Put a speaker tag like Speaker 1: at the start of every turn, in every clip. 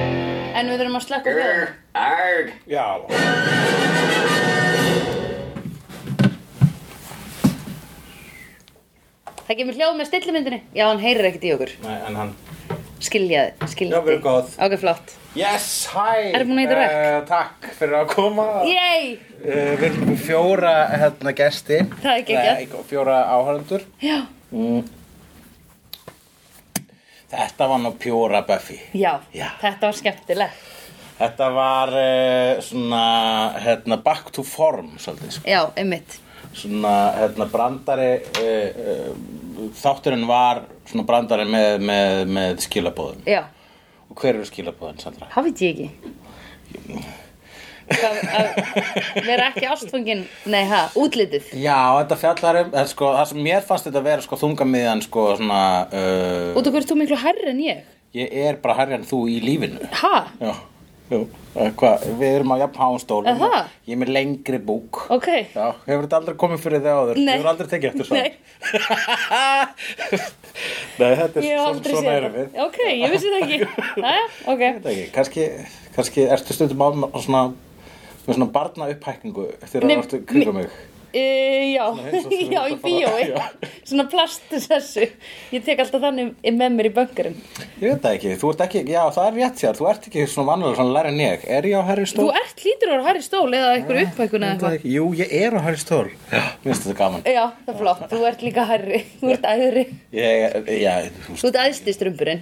Speaker 1: en við þurfum að slekka á hljóðinu.
Speaker 2: Grr, arg.
Speaker 3: Já,
Speaker 1: Það kemur hljóð með stillimyndinni. Já, hann heyrir ekkert í okkur.
Speaker 3: Nei, en hann
Speaker 1: Skiljaði, skiljaði.
Speaker 3: Já, vel gott.
Speaker 1: Ok, flott.
Speaker 3: Yes, hæ
Speaker 1: Ertu búin að hitta
Speaker 3: Eh, Takk fyrir að koma
Speaker 1: Yay!
Speaker 3: uh, Við erum með fjóra hérna gesti
Speaker 1: Það er geggjað.
Speaker 3: Nei, Fjóra áhörundur
Speaker 1: Já.
Speaker 3: Þetta var nú pjóra Buffy
Speaker 1: Já,
Speaker 3: Já.
Speaker 1: þetta var skemmtilegt.
Speaker 3: Þetta var uh, svona hérna, back to form svolítið, sko.
Speaker 1: Já, einmitt.
Speaker 3: svona hérna, brandari uh, uh, þátturinn var svona brandari með, með, með skilabóðum
Speaker 1: Já,
Speaker 3: og hver eru skilabóðin Sandra?
Speaker 1: það veit ég ekki. Hvað, að vera ekki ástfangin, nei, ha, útlitið.
Speaker 3: Já, þetta fjallar um, eh, sko, það sem mér fannst þetta að vera sko þungamiðan sko svona, uh,
Speaker 1: Út af hverju ert þú miklu herri en ég.
Speaker 3: ég er bara herri en þú í lífinu.
Speaker 1: Ha?
Speaker 3: Já, já, eh, hvað, við erum á jafn hánstólu,
Speaker 1: Aha.
Speaker 3: ég er með lengri búk.
Speaker 1: Ok.
Speaker 3: Já, hefur þetta aldrei komið fyrir þig
Speaker 1: Nei.
Speaker 3: áður? Ég hefur aldrei tekið eftir svo.
Speaker 1: Nei.
Speaker 3: Nei, þetta er
Speaker 1: Ég hef
Speaker 3: svo-
Speaker 1: aldrei
Speaker 3: svona
Speaker 1: séð
Speaker 3: erum við.
Speaker 1: það. Ok, ég vissi það ekki. Næja,
Speaker 3: Ég
Speaker 1: ok.
Speaker 3: veit ekki, kannski, kannski ertu stundum á á svona, með svona barna upphækningu þegar
Speaker 1: Nei,
Speaker 3: það ertu
Speaker 1: mi-
Speaker 3: kringum mig.
Speaker 1: E, já,
Speaker 3: eins og þú
Speaker 1: já, í
Speaker 3: ert að
Speaker 1: bíói.
Speaker 3: fara- Já.
Speaker 1: Svona plastusessu. Ég tek alltaf þannig með mér í böngarinn.
Speaker 3: Ég veit það ekki, þú ert ekki, já það er rétt sér, þú ert ekki svona vanlega svona læri en ég. Er ég á Harry
Speaker 1: Þú
Speaker 3: Stól?
Speaker 1: ert hlýtur að vera Harry Stól eða eitthvað
Speaker 3: Ah,
Speaker 1: upphækuna eða
Speaker 3: Ég veit það
Speaker 1: eitthvað.
Speaker 3: ekki. Jú, ég er á Harry Stól. Já, mér finnst þetta gaman.
Speaker 1: Já, það er flott. Þú ert líka Harry. Þú ert æðri.
Speaker 3: Ég, já, þú
Speaker 1: Þú ert æðsti strumpurinn.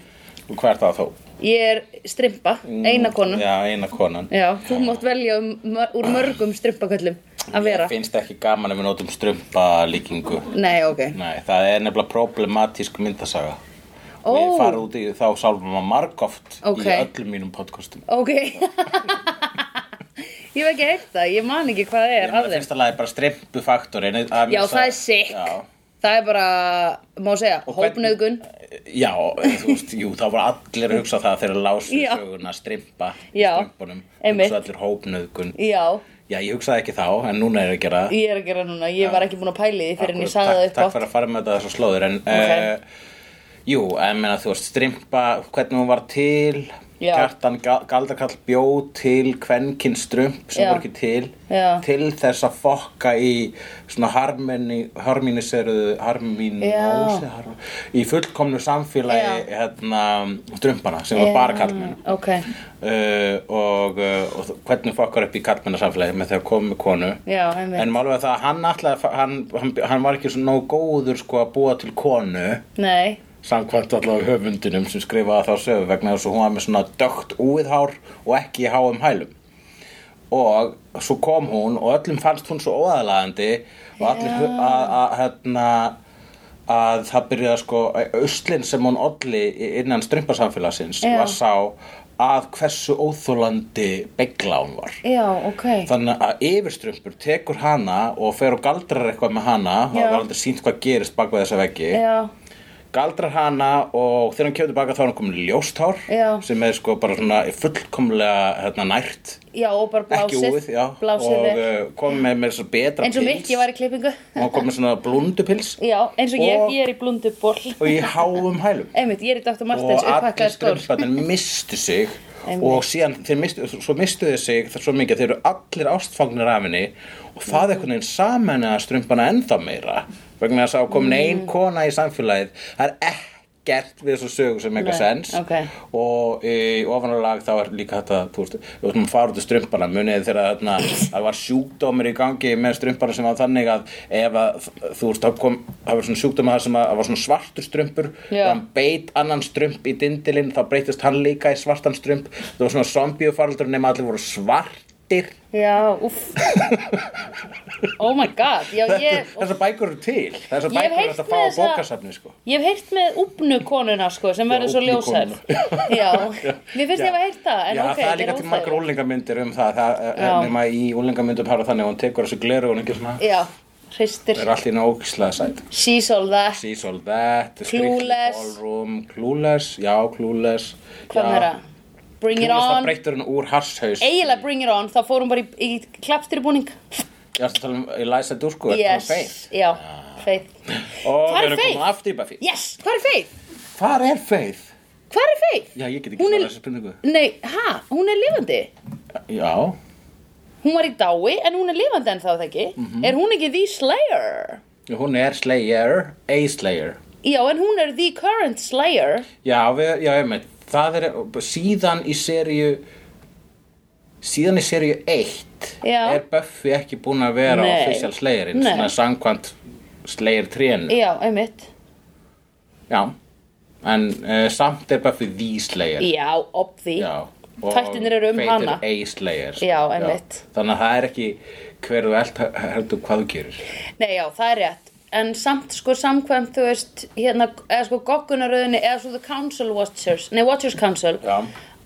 Speaker 3: veist, hvað er það þá?
Speaker 1: Ég er strumpa, eina konan. Já.
Speaker 3: Mm, Já, eina konan.
Speaker 1: þú mátt velja um, úr mörgum strumpaköllum að vera.
Speaker 3: Mér finnst ekki gaman ef við notum strumpalíkingu.
Speaker 1: Nei, ok.
Speaker 3: Nei, það er nefnilega problematísk myndasaga.
Speaker 1: Ó.
Speaker 3: Og ég farið út í þá sálfum að margóft
Speaker 1: Ok.
Speaker 3: í öllum mínum podcastum.
Speaker 1: Ok. ég hef ekki heyrt það, ég man ekki hvað það
Speaker 3: Ég
Speaker 1: er
Speaker 3: meina
Speaker 1: af þeim.
Speaker 3: Hérna fyrsta lagi bara strimpufaktorin.
Speaker 1: Já, það er sick. Það er bara, má segja, hópnöðgun.
Speaker 3: Já, þú veist, jú, þá var allir að hugsa það þegar lásu
Speaker 1: Já.
Speaker 3: söguna strimpa í
Speaker 1: Já,
Speaker 3: strimpunum.
Speaker 1: einmitt.
Speaker 3: Hugsa allir hópnöðgun.
Speaker 1: Já,
Speaker 3: Já, ég hugsaði ekki þá, en núna er ég að gera það.
Speaker 1: ég er að gera núna, ég var ekki búin að pæli því fyrir en ég
Speaker 3: Akkurat,
Speaker 1: sagði það
Speaker 3: takk-
Speaker 1: upp
Speaker 3: Takk
Speaker 1: átt.
Speaker 3: fyrir að fara með þetta þessar slóður, en...
Speaker 1: Ok.
Speaker 3: Uh, jú, en meina, þú veist, strimpa, hvernig hún var til,
Speaker 1: Já.
Speaker 3: kjartan Gal- Galdrakall bjó til kvenkinn strump sem
Speaker 1: Já.
Speaker 3: voru ekki til,
Speaker 1: Já.
Speaker 3: til þess að fokka í svona harmoni, harminiseruðu, harminósi,
Speaker 1: Já.
Speaker 3: harm, í fullkomnu samfélagi, hérna, strumpana sem var bara kallmenn.
Speaker 1: Ok,
Speaker 3: Uh, og, uh, og þ- hvernig fokkar upp í kallmennarsamfélagi með því að koma með konu
Speaker 1: Já, einmitt.
Speaker 3: en málum er það að hann ætlaði að fa- hann, hann, hann var ekki svo nóg góður sko að búa til konu
Speaker 1: nei,
Speaker 3: samkvæmt allavega höfundinum sem skrifaði þá sögu vegna þess að hún var með svona dögt úið hár og ekki í háum hælum og svo kom hún og öllum fannst hún svo óaðalagandi og allir hu- að að, hérna að það byrjaði sko auslinn sem hún olli innan strömpasamfélagsins
Speaker 1: Já.
Speaker 3: var sá að hversu óþólandi begla hún var
Speaker 1: já, ok.
Speaker 3: þannig að yfirströmpur tekur hana og fer og galdrar eitthvað með hana
Speaker 1: Já.
Speaker 3: það var aldrei sínt hvað gerist bak við þessa veggi
Speaker 1: Já,
Speaker 3: galdrar hana og þegar hann kemur tilbaka þá er hann komin í ljósthár
Speaker 1: Já.
Speaker 3: sem er sko bara svona fullkomlega hérna, nært
Speaker 1: já, og bara
Speaker 3: ekki
Speaker 1: blásið.
Speaker 3: úið, já
Speaker 1: Blásið
Speaker 3: og
Speaker 1: vel.
Speaker 3: uh, kom með mér svo betra
Speaker 1: Eins og mitt, ég var í klippingu.
Speaker 3: og kom með svona blundupils
Speaker 1: Já, eins og ég,
Speaker 3: Og-
Speaker 1: ég er í blunduból.
Speaker 3: og í háum hælum
Speaker 1: Einmitt, ég er í Dr.
Speaker 3: og
Speaker 1: Martens
Speaker 3: allir
Speaker 1: upphækkaði skór.
Speaker 3: strömbarnir mistu sig
Speaker 1: Einmitt.
Speaker 3: og síðan þeir mistu, svo mistu þeir sig það er svo mikið að þeir eru allir ástfangnir af henni og það er einhvern veginn saman að strömbana ennþá meira vegna þess að
Speaker 1: Mm.
Speaker 3: komin ein kona í samfélagið það er ekkert við þessu sögu sem eitthvað
Speaker 1: Nei,
Speaker 3: sens
Speaker 1: ok.
Speaker 3: og í ofanálag þá er líka þetta þú veist, við ætlum að fara út í strumpana munið þegar þarna, það var sjúkdómur í gangi með strumpana sem var þannig að ef að, þú veist, þá kom það var svona sjúkdómur það sem að, það var svona svartur strumpur
Speaker 1: Já.
Speaker 3: og hann beit annan strump í dindilinn þá breytist hann líka í svartan strump það var svona zombiufaraldur nema allir voru svartir
Speaker 1: Já, uff. oh my god, já,
Speaker 3: þetta,
Speaker 1: ég...
Speaker 3: þessar bækur eru til þessar
Speaker 1: Ég hef
Speaker 3: bækur er
Speaker 1: heyrt
Speaker 3: hægt að
Speaker 1: með
Speaker 3: fá á
Speaker 1: þessa-
Speaker 3: bókasafni sko.
Speaker 1: Ég hef heyrt með úpnu konuna sko sem verður svo ljósæð
Speaker 3: úfnukonuna.
Speaker 1: Já, mér finnst ég hafa heyrt það en ok,
Speaker 3: Já, það er
Speaker 1: þetta
Speaker 3: líka til margar
Speaker 1: óþægilegt.
Speaker 3: úlingamyndir um það, það er-
Speaker 1: Já.
Speaker 3: nema í úlingamyndum hafa þannig að hún tekur þessu gleru og hún ekki svona
Speaker 1: Já, hristir,
Speaker 3: Það er allt í náðu ógislega sæt.
Speaker 1: she's all that
Speaker 3: She's all that, the Strictly
Speaker 1: Clueless.
Speaker 3: Ballroom, Clueless, já, Clueless.
Speaker 1: Hvað meira? Bring it
Speaker 3: Clueless, það
Speaker 1: on
Speaker 3: breytir hún úr harshaus.
Speaker 1: Eiginlega bring it on, þá fór hún bara í, í klapstyrbúning
Speaker 3: Ég ætla að tala um Eliza Dusko, þetta er
Speaker 1: Yes,
Speaker 3: Faith. Ah.
Speaker 1: já, Faith
Speaker 3: Og
Speaker 1: Hvar er
Speaker 3: við erum
Speaker 1: Faith?
Speaker 3: komin aftur í Buffy.
Speaker 1: Yes, hvað er Faith?
Speaker 3: Hvar er Faith?
Speaker 1: Hvar er Faith?
Speaker 3: Já, ég get ekki
Speaker 1: Hún er-
Speaker 3: svarað þessu spurningu.
Speaker 1: Nei, hæ? Hún er lifandi?
Speaker 3: Já,
Speaker 1: Hún var í dái en hún er lifandi en þá það ekki
Speaker 3: Mhm.
Speaker 1: Er hún ekki The Slayer?
Speaker 3: hún er Slayer, a Slayer.
Speaker 1: Já, en hún er The Current Slayer
Speaker 3: Já, við, já, ég meit, það er síðan í seríu síðan í seríu 1
Speaker 1: Já.
Speaker 3: er Buffy ekki búin að vera
Speaker 1: Nei.
Speaker 3: official slayerinn,
Speaker 1: Nei.
Speaker 3: svona samkvæmt slayer trénu.
Speaker 1: Já, einmitt
Speaker 3: Já, en uh, samt er Buffy the slayer.
Speaker 1: Já, obvi
Speaker 3: Já. og
Speaker 1: Þættirnir eru um
Speaker 3: Faith
Speaker 1: hana.
Speaker 3: er a slayer. sko.
Speaker 1: Já, einmitt.
Speaker 3: Þannig að það er ekki hver þú elt heldur hvað þú gerir.
Speaker 1: Nei, já, það er rétt En samt, sko, samkvæmt, þú veist Hérna, eða sko, goggunaröðinni Eða svo The Council Watchers Nei, Watchers Council
Speaker 3: Já.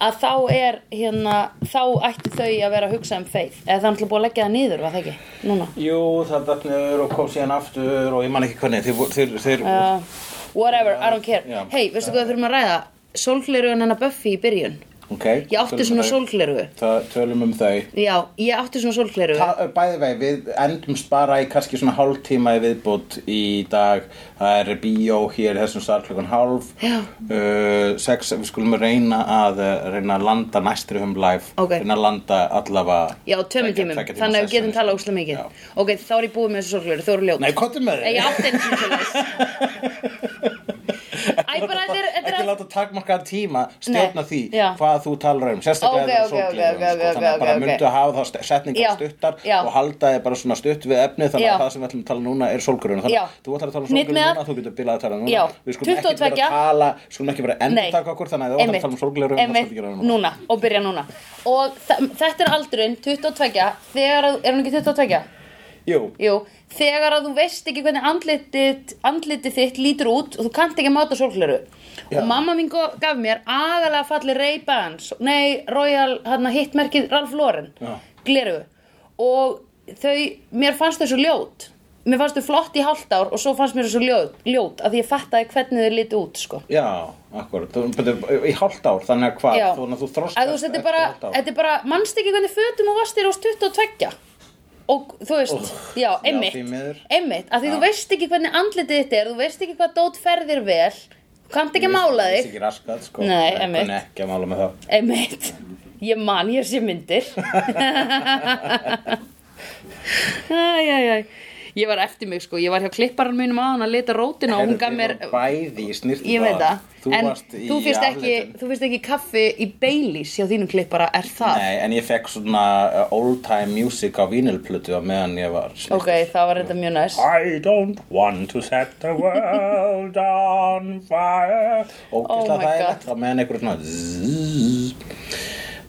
Speaker 1: Að þá er, hérna Þá ættu þau að vera að hugsa um Faith Eða það er náttúrulega búið að leggja það niður, var það ekki? Núna
Speaker 3: Jú, það dæknur og kom síðan aftur og ég man ekki hvernig, þeir, þeir, þeir
Speaker 1: uh, Whatever, I don't care
Speaker 3: Já.
Speaker 1: Hey, veistu hvað við þurfum að ræða? Sólglerugun hennar Buffy í byrjun
Speaker 3: ok.
Speaker 1: Ég átti
Speaker 3: tölum
Speaker 1: svona
Speaker 3: um þau.
Speaker 1: sólglerugu
Speaker 3: Það tölum um þau.
Speaker 1: Já, ég átti svona sólglerugu
Speaker 3: Ta- uh, Bæði vei, við endumst bara í kannski svona hálftíma í viðbútt í dag Það er bíó hér í þessum sal klukkan hálf
Speaker 1: Já.
Speaker 3: uh, Sex, við skulum reyna að uh, reyna að landa næstri um live
Speaker 1: Ok.
Speaker 3: Reyna að landa allavega
Speaker 1: Já, tömum
Speaker 3: tveggja-
Speaker 1: tímum,
Speaker 3: tveggja tíma
Speaker 1: þannig að við
Speaker 3: session,
Speaker 1: getum talað
Speaker 3: sko.
Speaker 1: óslega mikið
Speaker 3: Já.
Speaker 1: Ok, þá er ég búið með þessu sorgleru, þú eru ljót
Speaker 3: Nei, kottum með
Speaker 1: Nei,
Speaker 3: þig
Speaker 1: ég átti einu sinni svoleiðis. Æ, bara þetta er- þetta
Speaker 3: Ekki
Speaker 1: er að
Speaker 3: láta takmarkaðan tíma stjórna
Speaker 1: Nei,
Speaker 3: því
Speaker 1: já.
Speaker 3: hvað þú talar um Sérstaklega
Speaker 1: Ok,
Speaker 3: okay,
Speaker 1: ok,
Speaker 3: okay,
Speaker 1: ok,
Speaker 3: okay,
Speaker 1: ok, ok,
Speaker 3: sko, Þannig
Speaker 1: ok,
Speaker 3: að bara
Speaker 1: ok.
Speaker 3: myndu að hafa þá setningar
Speaker 1: Já,
Speaker 3: stuttar
Speaker 1: já.
Speaker 3: og halda þið bara svona stutt við efni þannig
Speaker 1: Já.
Speaker 3: að það sem við ætlum að tala núna er sólgrun Þannig
Speaker 1: Já.
Speaker 3: að þú ætlar að tala um
Speaker 1: Hnit
Speaker 3: sólgrun
Speaker 1: með-
Speaker 3: núna, þú getur bilað að tala um núna
Speaker 1: Já.
Speaker 3: Við skulum ekki
Speaker 1: 22.
Speaker 3: vera að tala, skulum ekki vera að
Speaker 1: Nei.
Speaker 3: endurtaka okkur þannig að þú ætlar að tala um sólgrun þá
Speaker 1: Einmitt.
Speaker 3: skulum ekki gera það núna
Speaker 1: núna, og byrja núna Og þa- þetta er aldurinn, 22 Þegar að, er hún ekki 22?
Speaker 3: Jú,
Speaker 1: Jú, þegar að þú veist ekki hvernig andlitið, andlitið þitt lítur út og þú kannt ekki að máta sólgleru
Speaker 3: Já.
Speaker 1: og mamma mín go- gaf mér aðalega falli Ray-Bans nei, Royal, hérna hittmerkið Ralph Lauren
Speaker 3: Já.
Speaker 1: gleru og þau, mér fannst þau svo ljót mér fannst þau flott í hálft ár og svo fannst mér þau svo ljót, ljót að ég fattaði hvernig þau lítu út sko.
Speaker 3: já, akkur Í hálft ár, þannig að hvað
Speaker 1: Já.
Speaker 3: Þú- Þannig að
Speaker 1: að þú
Speaker 3: þú
Speaker 1: veist,
Speaker 3: þroskast
Speaker 1: þetta er bara,
Speaker 3: hálft ár.
Speaker 1: þetta er bara mannst ekki hvernig fötum og vastir ás 22 og þú veist, já,
Speaker 3: já,
Speaker 1: einmitt
Speaker 3: því miður.
Speaker 1: einmitt, af því þú veist ekki hvernig andlitið þitt er, þú veist ekki hvað dót ferðir vel þú kannt ekki að
Speaker 3: Þú
Speaker 1: mála
Speaker 3: veist
Speaker 1: þig
Speaker 3: ekki raskat, sko.
Speaker 1: Nei,
Speaker 3: Ég
Speaker 1: einmitt.
Speaker 3: kunni ekki að mála með það.
Speaker 1: einmitt, ég man, ég sé myndir æj, æj, æj ég var eftir mig sko, ég var hjá klipparan mínum á hann að lita rótina og hún
Speaker 3: Heyrðu,
Speaker 1: gaf
Speaker 3: við
Speaker 1: mér
Speaker 3: vorum bæði í snirtu
Speaker 1: ég veit það,
Speaker 3: þú
Speaker 1: en
Speaker 3: varst í
Speaker 1: þú fyrst ekki
Speaker 3: afleitun.
Speaker 1: þú fyrst ekki kaffi í Baileys hjá þínum klippara, er það?
Speaker 3: nei, en ég fekk svona uh, old time music á vínilplötu á meðan ég var snirtur.
Speaker 1: ok, það var þetta mjög næst
Speaker 3: I don't want to set the world on fire og
Speaker 1: Oh my
Speaker 3: það er lett á meðan einhver svona zzz.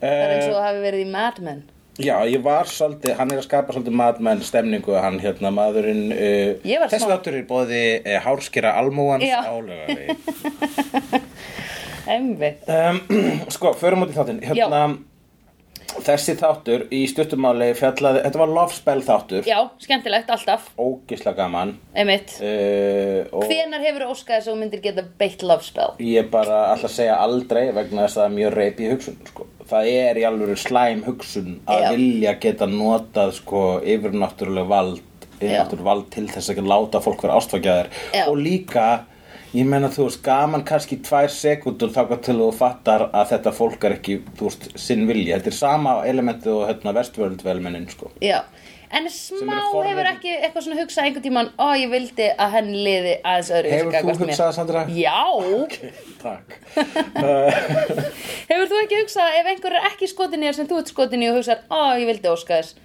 Speaker 1: Það er eins og það hafi verið í Mad Men
Speaker 3: Uh, já, ég var svolítið, hann er að skapa svolítið madmenn stemningu, hann hérna maðurinn uh,
Speaker 1: Ég var
Speaker 3: þessi
Speaker 1: smá-
Speaker 3: þáttur er bóði uh, hárskera almúans
Speaker 1: Já.
Speaker 3: álega
Speaker 1: Einmitt
Speaker 3: um, sko, förum út í þáttin hérna, þessi þáttur í stuttumáli fjallaði, þetta var love spell þáttur
Speaker 1: Já, skemmtilegt, alltaf
Speaker 3: ógisla gaman
Speaker 1: Einmitt
Speaker 3: uh, og
Speaker 1: Hvenær hefur óskað þess að þú myndir geta beitt love spell?
Speaker 3: ég bara alltaf segja aldrei vegna þess að það er mjög reyp í hugsun sko. það er í alvöru slæm hugsun að
Speaker 1: Já.
Speaker 3: vilja geta notað sko, yfirnáttúrulega vald yfirnáttúrulega vald til þess að láta fólk vera ástfækjaðir
Speaker 1: Já.
Speaker 3: og líka ég meina þú veist gaman kannski tvær sekundur þá til þú fattar að þetta fólk er ekki þú veist sinn vilja þetta er sama elementið og hérna vestvöld velmennin sko
Speaker 1: Já En
Speaker 3: Sem
Speaker 1: smá
Speaker 3: eru forvitni.
Speaker 1: hefur ekki eitthvað svona hugsað einhvern tímann Ó, ég vildi að henni liði aðeins öðru
Speaker 3: Hefur þú hugsað, Sandra?
Speaker 1: Já
Speaker 3: Takk
Speaker 1: Hefur þú ekki hugsað ef einhver er ekki skotin í þér sem þú ert skotin í og hugsað Ó, ég vildi óska þess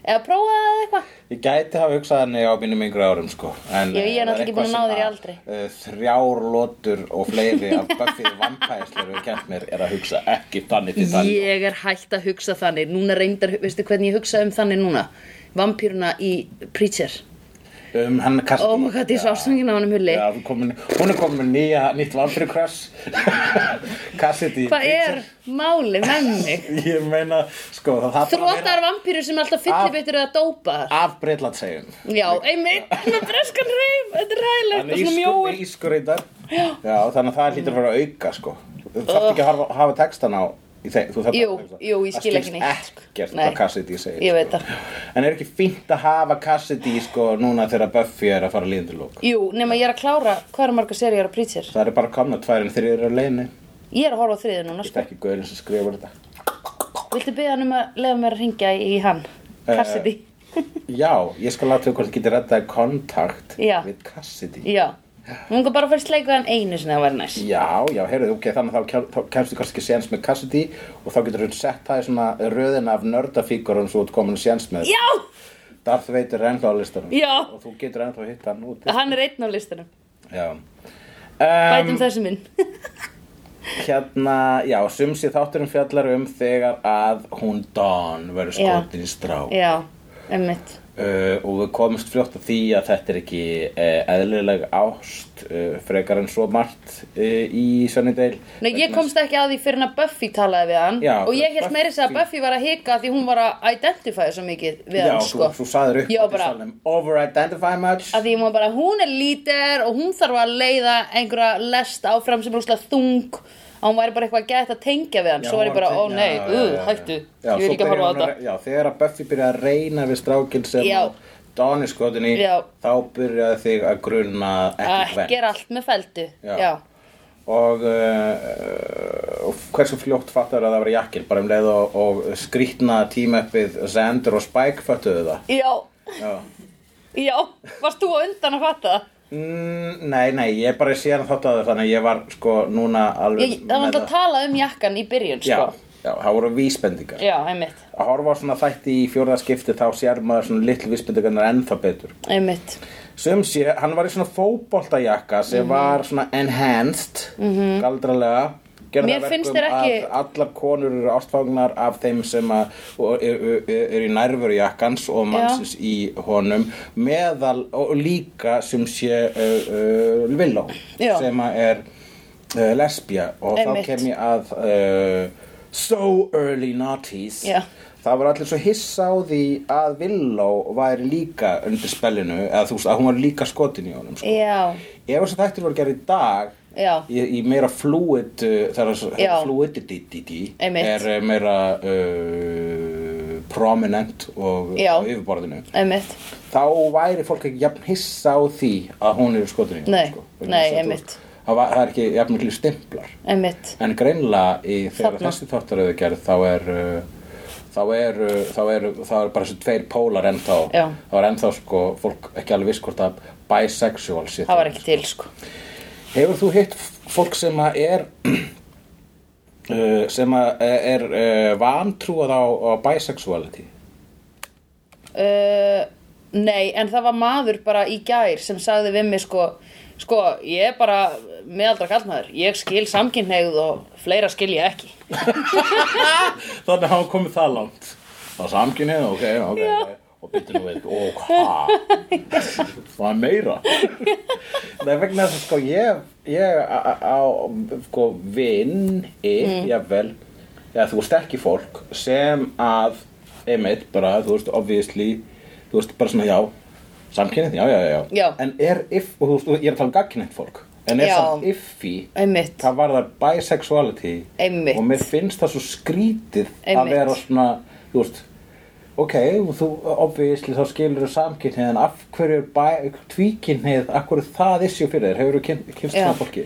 Speaker 1: Eða prófaði það eitthvað
Speaker 3: Ég gæti hafa hugsað henni á mínum yngri árum sko en,
Speaker 1: Já, ég er
Speaker 3: eh, það
Speaker 1: náttúrulega ekki búin að ná
Speaker 3: eitthvað
Speaker 1: þér í
Speaker 3: sem að,
Speaker 1: aldri.
Speaker 3: eh, Þrjár lotur og fleiri af Buffy vampæðisleir við kent mér er að hugsa ekki þannig til þannig
Speaker 1: Ég er hægt að hugsa þannig Núna reyndar, veistu hvernig ég hugsaði um þannig núna Vampýruna í Preacher
Speaker 3: um, hann kannski
Speaker 1: Oh my god, ég svo ástöngin á hann um hulli
Speaker 3: Já, hún, komin, hún er komin með nýja, nýtt vampíru crush Cassidy
Speaker 1: Hvað er máli með mig?
Speaker 3: Ég meina, sko það þarf bara að
Speaker 1: Þrótar
Speaker 3: vera
Speaker 1: vampýrur sem alltaf fyllibittur eða dópar
Speaker 3: af Breitlandsegjum
Speaker 1: Já, einmitt, með breskan reif Þetta er hægilegt
Speaker 3: Hann
Speaker 1: og
Speaker 3: er
Speaker 1: svona
Speaker 3: ískur,
Speaker 1: mjóir
Speaker 3: ískur í dag Já, þannig að það hlýtur að vera að auka sko Þú þarf ekki að hafa, hafa textan á í þeim, þú þarft að
Speaker 1: Jú,
Speaker 3: hafa textan.
Speaker 1: jú, ég skil ekki
Speaker 3: Það
Speaker 1: neitt,
Speaker 3: skilst
Speaker 1: sko.
Speaker 3: ekkert
Speaker 1: Nei.
Speaker 3: hvað Cassidy segir
Speaker 1: Ég veit
Speaker 3: sko. En er ekki fínt að hafa Cassidy sko núna þegar Buffy er að fara líðandi lók
Speaker 1: Jú, nema ég er að klára hvað er marga serið ég er að preacher
Speaker 3: Það er bara komna tvær en þrjir á leiðinni
Speaker 1: Ég er að horfa á þriði núna,
Speaker 3: Ég
Speaker 1: sko.
Speaker 3: þekki gaurinn sem skrifar þetta.
Speaker 1: Viltu byggja hann um að lefa mér að ringja í hann?
Speaker 3: Eh,
Speaker 1: Cassidy.
Speaker 3: Já, ég skal láta þau hvort þið getur rettaði kontakt
Speaker 1: Já.
Speaker 3: við Cassidy.
Speaker 1: Já. Mér langar bara að fara í sleik við hann einu sinni það væri næs.
Speaker 3: Já, já, heyrðu, ok, þannig að þá kem- þá kemstu kannski ekki séns með Cassidy og þá getur hún sett það í svona röðina af nördafíkurum svo út komin séns með
Speaker 1: Já!
Speaker 3: Darth Vader er ennþá á listanum
Speaker 1: Já.
Speaker 3: og þú getur ennþá hitt hann út
Speaker 1: Hann er einn á listanum.
Speaker 3: Já
Speaker 1: Bætum
Speaker 3: um,
Speaker 1: þessu minn.
Speaker 3: Hérna, já, sumsi þátturinn fjallar um þegar að hún Dawn verður
Speaker 1: Já.
Speaker 3: skotin í strá
Speaker 1: Já, emmitt.
Speaker 3: Uh, og við komumst fljótt að því að þetta er ekki uh, eðlileg ást uh, frekar en svo margt uh, í Sunnydale Eh,
Speaker 1: Nei, ég komst ekki að því fyrir en að Buffy talaði við hann
Speaker 3: Já,
Speaker 1: og ég held
Speaker 3: Buffy-
Speaker 1: meira þess að Buffy var að hika því hún var að identify svo mikið við
Speaker 3: Já,
Speaker 1: hann,
Speaker 3: þú,
Speaker 1: sko.
Speaker 3: þú saður upp
Speaker 1: Já, bara-
Speaker 3: Over-identify um much
Speaker 1: að því ég má bara, hún er lítir og hún þarf að leiða einhverja lest áfram sem er úslega þung að hún væri bara eitthvað gett að tengja við hann svo var ég bara, ó nei, uh, hættu
Speaker 3: já,
Speaker 1: ég vil
Speaker 3: svo
Speaker 1: ekki horfa á
Speaker 3: byrjar hún
Speaker 1: þetta
Speaker 3: Já, þegar að Buffy byrjaði að reyna við strákinn sem
Speaker 1: Já.
Speaker 3: að Dawn er skotin í
Speaker 1: Já.
Speaker 3: þá byrjaði þig að grunna ekki
Speaker 1: ekki
Speaker 3: hvern
Speaker 1: er allt með feldu
Speaker 3: Já.
Speaker 1: já,
Speaker 3: og, uh, og hversu fljótt fattar að það var jakkin bara um leið og, og skrýtna tímappið Xander og Spike fattuðu það
Speaker 1: já,
Speaker 3: Já.
Speaker 1: já. varst þú á undan að fatta það?
Speaker 3: Mm, nei, nei, ég bara sé hann þátt að það þannig að ég var sko núna alveg
Speaker 1: Ég, það var
Speaker 3: með
Speaker 1: alltaf að tala um jakkan í byrjun
Speaker 3: Já,
Speaker 1: sko.
Speaker 3: já, það voru vísbendingar
Speaker 1: já, einmitt,
Speaker 3: að horfa á svona þætti í fjórðaskipti þá sér maður svona litlu vissbendingarnar ennþá betur
Speaker 1: einmitt
Speaker 3: sem sé, hann var í svona fótboltajakka
Speaker 1: Mhm.
Speaker 3: sem var svona enhanced -hmm. galdralega gerði
Speaker 1: Mér
Speaker 3: það að
Speaker 1: finnst
Speaker 3: verkum
Speaker 1: þér ekki-
Speaker 3: að allar konur eru ástfangnar af þeim sem að- og e, eru er, er í nærveru jakkans og mannsins í honum meðal og líka sem sé uh, uh, Villó
Speaker 1: Já.
Speaker 3: sem að er uh, lesbja og
Speaker 1: Einmitt.
Speaker 3: þá kem ég að uh, so early noughties
Speaker 1: Já.
Speaker 3: það var allir svo hissa á því að Villó væri líka undir spellinu eða þú veist að hún var líka skotin í honum sko.
Speaker 1: já,
Speaker 3: ef þess að þættir voru gerð í dag
Speaker 1: já,
Speaker 3: í, í meira fluid uh, þar að
Speaker 1: Já.
Speaker 3: fluidity
Speaker 1: Einmitt.
Speaker 3: er uh, meira uh, prominent og
Speaker 1: Já.
Speaker 3: á yfirborðinu
Speaker 1: einmitt
Speaker 3: þá væri fólk ekki jafn hissa á því að hún er skotin í honum
Speaker 1: Nei,
Speaker 3: sko. Vegna
Speaker 1: nei,
Speaker 3: þess að þú-
Speaker 1: einmitt.
Speaker 3: það, var, það er ekki jafn miklu stimplar
Speaker 1: einmitt,
Speaker 3: En greinlega í þegar
Speaker 1: Þarna.
Speaker 3: þessi þáttar eru gerð þá er uh, þá er, uh, þá er, þá er bara þessi tveir pólar ennþá
Speaker 1: Já.
Speaker 3: þá er ennþá sko fólk ekki alveg viss hvort að bisexual sé
Speaker 1: það var
Speaker 3: til.
Speaker 1: ekki til sko.
Speaker 3: Hefur þú hitt fólk sem að er uh, sem að er uh, vantrúað á, á bisexuality?
Speaker 1: Uh, nei, en það var maður bara í gær sem sagði við mig sko, sko, ég er bara meðaldra kallmaður, ég skil samkynneigð og fleira skil ég ekki.
Speaker 3: Þannig að hafa komið það langt Það er samkynið, ok, ok Og byttu nú við, ó, hvað Það er meira Nei, vegna þess að sko ég Ég á- á- á sko, vinn mm. Jafnvel, já, þú veist ekki fólk Sem að Einmitt bara, þú veist, obviously Þú veist, bara svona, já Samkynið, já, já, já,
Speaker 1: Já.
Speaker 3: En er if, og þú veist, ég er að tala um gagkynið fólk En er
Speaker 1: Já.
Speaker 3: samt iffi
Speaker 1: Einmitt,
Speaker 3: það var það bisexuality
Speaker 1: Einmitt.
Speaker 3: og mér finnst það svo skrítið
Speaker 1: Einmitt.
Speaker 3: að vera svona, þú veist ok, og þú obviously þá skilur þú samkynhneið en af hverju er tvíkynhneið, af hverju er það issue fyrir þér, hefur þú kynst
Speaker 1: Já.
Speaker 3: svona fólki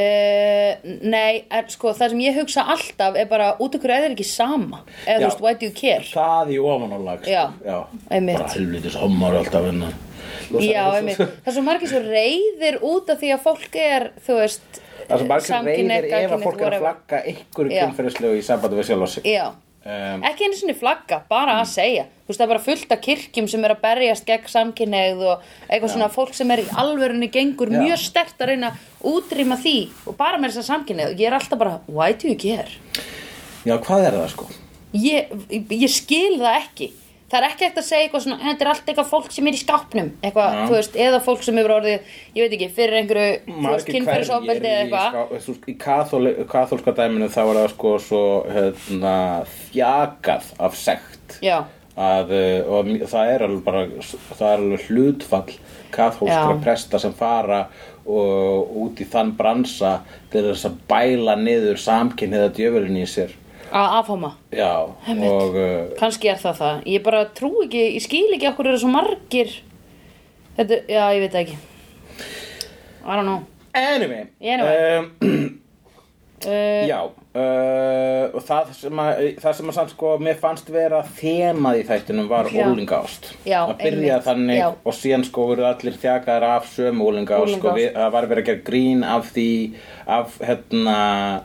Speaker 1: uh, nei, er, sko, það sem ég hugsa alltaf er bara út okkur eða er ekki sama, eða
Speaker 3: Já.
Speaker 1: þú veist, why do you care?
Speaker 3: það í ofanálag sko.
Speaker 1: Já. Einmitt.
Speaker 3: bara helvitis hommar alltaf hérna. hennar Sko,
Speaker 1: Já, einmitt, það er svo margir svo reyðir út af því að fólk er, þú veist,
Speaker 3: það er svo margir
Speaker 1: samkynhneigð,
Speaker 3: reyðir ef
Speaker 1: gagnkynhneigð,
Speaker 3: að fólk er
Speaker 1: whatever.
Speaker 3: að flagga einhverju
Speaker 1: Já.
Speaker 3: kynferðislegu í sambandi við sjálf og sig
Speaker 1: Já,
Speaker 3: um,
Speaker 1: ekki einu sinni flagga, bara að segja þú veist það er bara fullt af kirkjum sem er að berjast gegn samkynneið og eitthvað svona fólk sem er í alvörunni gengur
Speaker 3: Já.
Speaker 1: mjög stert að reyna að útrýma því og bara með þess að samkynneið og ég er alltaf bara why do you care?
Speaker 3: já, hvað er það sko
Speaker 1: Ég, ég skil það ekki það er ekki eftir að segja eitthvað svona þetta er allt eitthvað fólk sem er í skápnum eitthvað,
Speaker 3: Já.
Speaker 1: þú veist, eða fólk sem hefur orðið ég veit ekki, fyrir einhverju þú veist,
Speaker 3: margir hverjir
Speaker 1: kynferðisofbeldi eða
Speaker 3: í,
Speaker 1: eitthvað
Speaker 3: ská- þú veist, í kathóli, kathólska dæminu þá var það sko svo hérna, þjakað af sekt
Speaker 1: Já.
Speaker 3: að, uh, og m- það er alveg bara það er alveg hlutfall kathólskra
Speaker 1: Já.
Speaker 3: presta sem fara og út í þann bransa til þess að bæla niður samkynniða djöfurinn í sér
Speaker 1: að afháma
Speaker 3: já, og uh,
Speaker 1: Kanski er það það. Ég bara trú ekki, ég skil ekki okkur eru svo margir. Þetta, já, ég veit það ekki. I don't know.
Speaker 3: Anyway,
Speaker 1: Anyway.
Speaker 3: Um,
Speaker 1: uh,
Speaker 3: Já, uh, og það sem að, það sem að sann sko, mér fannst vera þemað í þættinum var
Speaker 1: Já.
Speaker 3: ólingást.
Speaker 1: Já,
Speaker 3: að byrja
Speaker 1: einmitt,
Speaker 3: þannig
Speaker 1: já.
Speaker 3: og síðan sko voru allir þjakaðar af sömu ólingást, sko,
Speaker 1: Unglingaást.
Speaker 3: við, það var verið að gera grín af því, af hérna,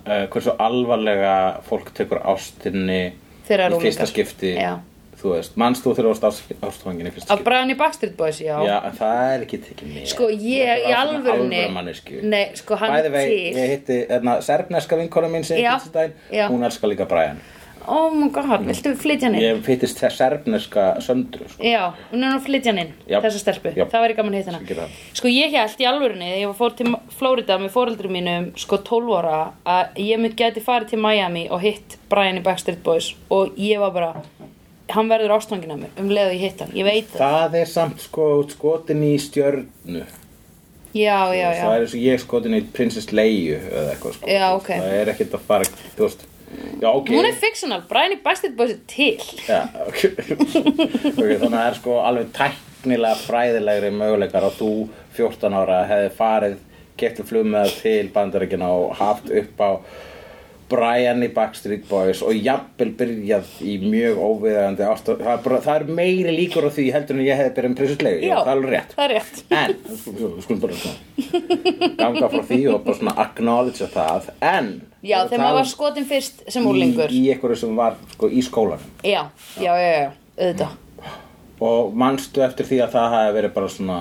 Speaker 3: uh, hversu alvarlega fólk tekur ástinni
Speaker 1: Þegar er
Speaker 3: í fyrsta
Speaker 1: unglingar.
Speaker 3: skipti,
Speaker 1: Já.
Speaker 3: þú veist, manst þú þegar þú varst ástofangin í fyrsta
Speaker 1: Af
Speaker 3: skipti?
Speaker 1: bræðan í Backstreet Boys, já.
Speaker 3: Já, en það er ekki tekið mér.
Speaker 1: Sko, ég í alvörunni
Speaker 3: Alvöru mannesku.
Speaker 1: Nei, sko, hann
Speaker 3: Bæði vei,
Speaker 1: til
Speaker 3: ég hitti erna, serbneska vinkona mín sem ég
Speaker 1: Já,
Speaker 3: hitti daginn,
Speaker 1: já.
Speaker 3: hún elskar líka Brian.
Speaker 1: Oh my god, viltu flytja hann inn?
Speaker 3: Ég hittist þess serbneska söndru, sko.
Speaker 1: Já, hún er nú að flytja hann inn,
Speaker 3: Já.
Speaker 1: þessa stelpu,
Speaker 3: Já.
Speaker 1: það væri gaman að hitta
Speaker 3: Sem gera
Speaker 1: hana.
Speaker 3: það.
Speaker 1: Sko ég held í alvörunni, þegar ég fór til Flórida með fóreldri mínum, sko 12 ára, að ég mynd gæti farið til Miami og hitt Brian í Backstreet Boys og ég var bara, hann verður ástangin af mér um leið og ég hitt hann, ég veit það.
Speaker 3: Það er samt sko skotin í stjörnu.
Speaker 1: Já, já, já.
Speaker 3: Það er eins og ég skotin í prinsess Leiu eða eitthvað, sko.
Speaker 1: Já, ok.
Speaker 3: Það er ekkert að fara, þú veist. Já, ok.
Speaker 1: Hún er fictional, Brian í Backstreet Boys er til.
Speaker 3: Já, ok. ok, þannig að það er sko alveg tæknilega fræðilegri möguleikar að þú 14 ára hefði farið, getið flugmiða til bandaríkina og haft upp á Brian í Backstreet Boys og jafnvel byrjað í mjög óviðandi ástof. Það, er bara- það er meiri líkur á því heldur en ég hefði byrjað um prinsuslegu. Já, það er alveg rétt.
Speaker 1: Það er rétt.
Speaker 3: En, sko, við skulum bara svona ganga frá því og bara svona acknowledge það. En,
Speaker 1: Já, þegar maður var skotin fyrst sem úrlingur.
Speaker 3: Í, í einhverju sem var sko í skólanum.
Speaker 1: Já, já, já, já, auðvitað.
Speaker 3: Og manstu eftir því að það hafi verið bara svona,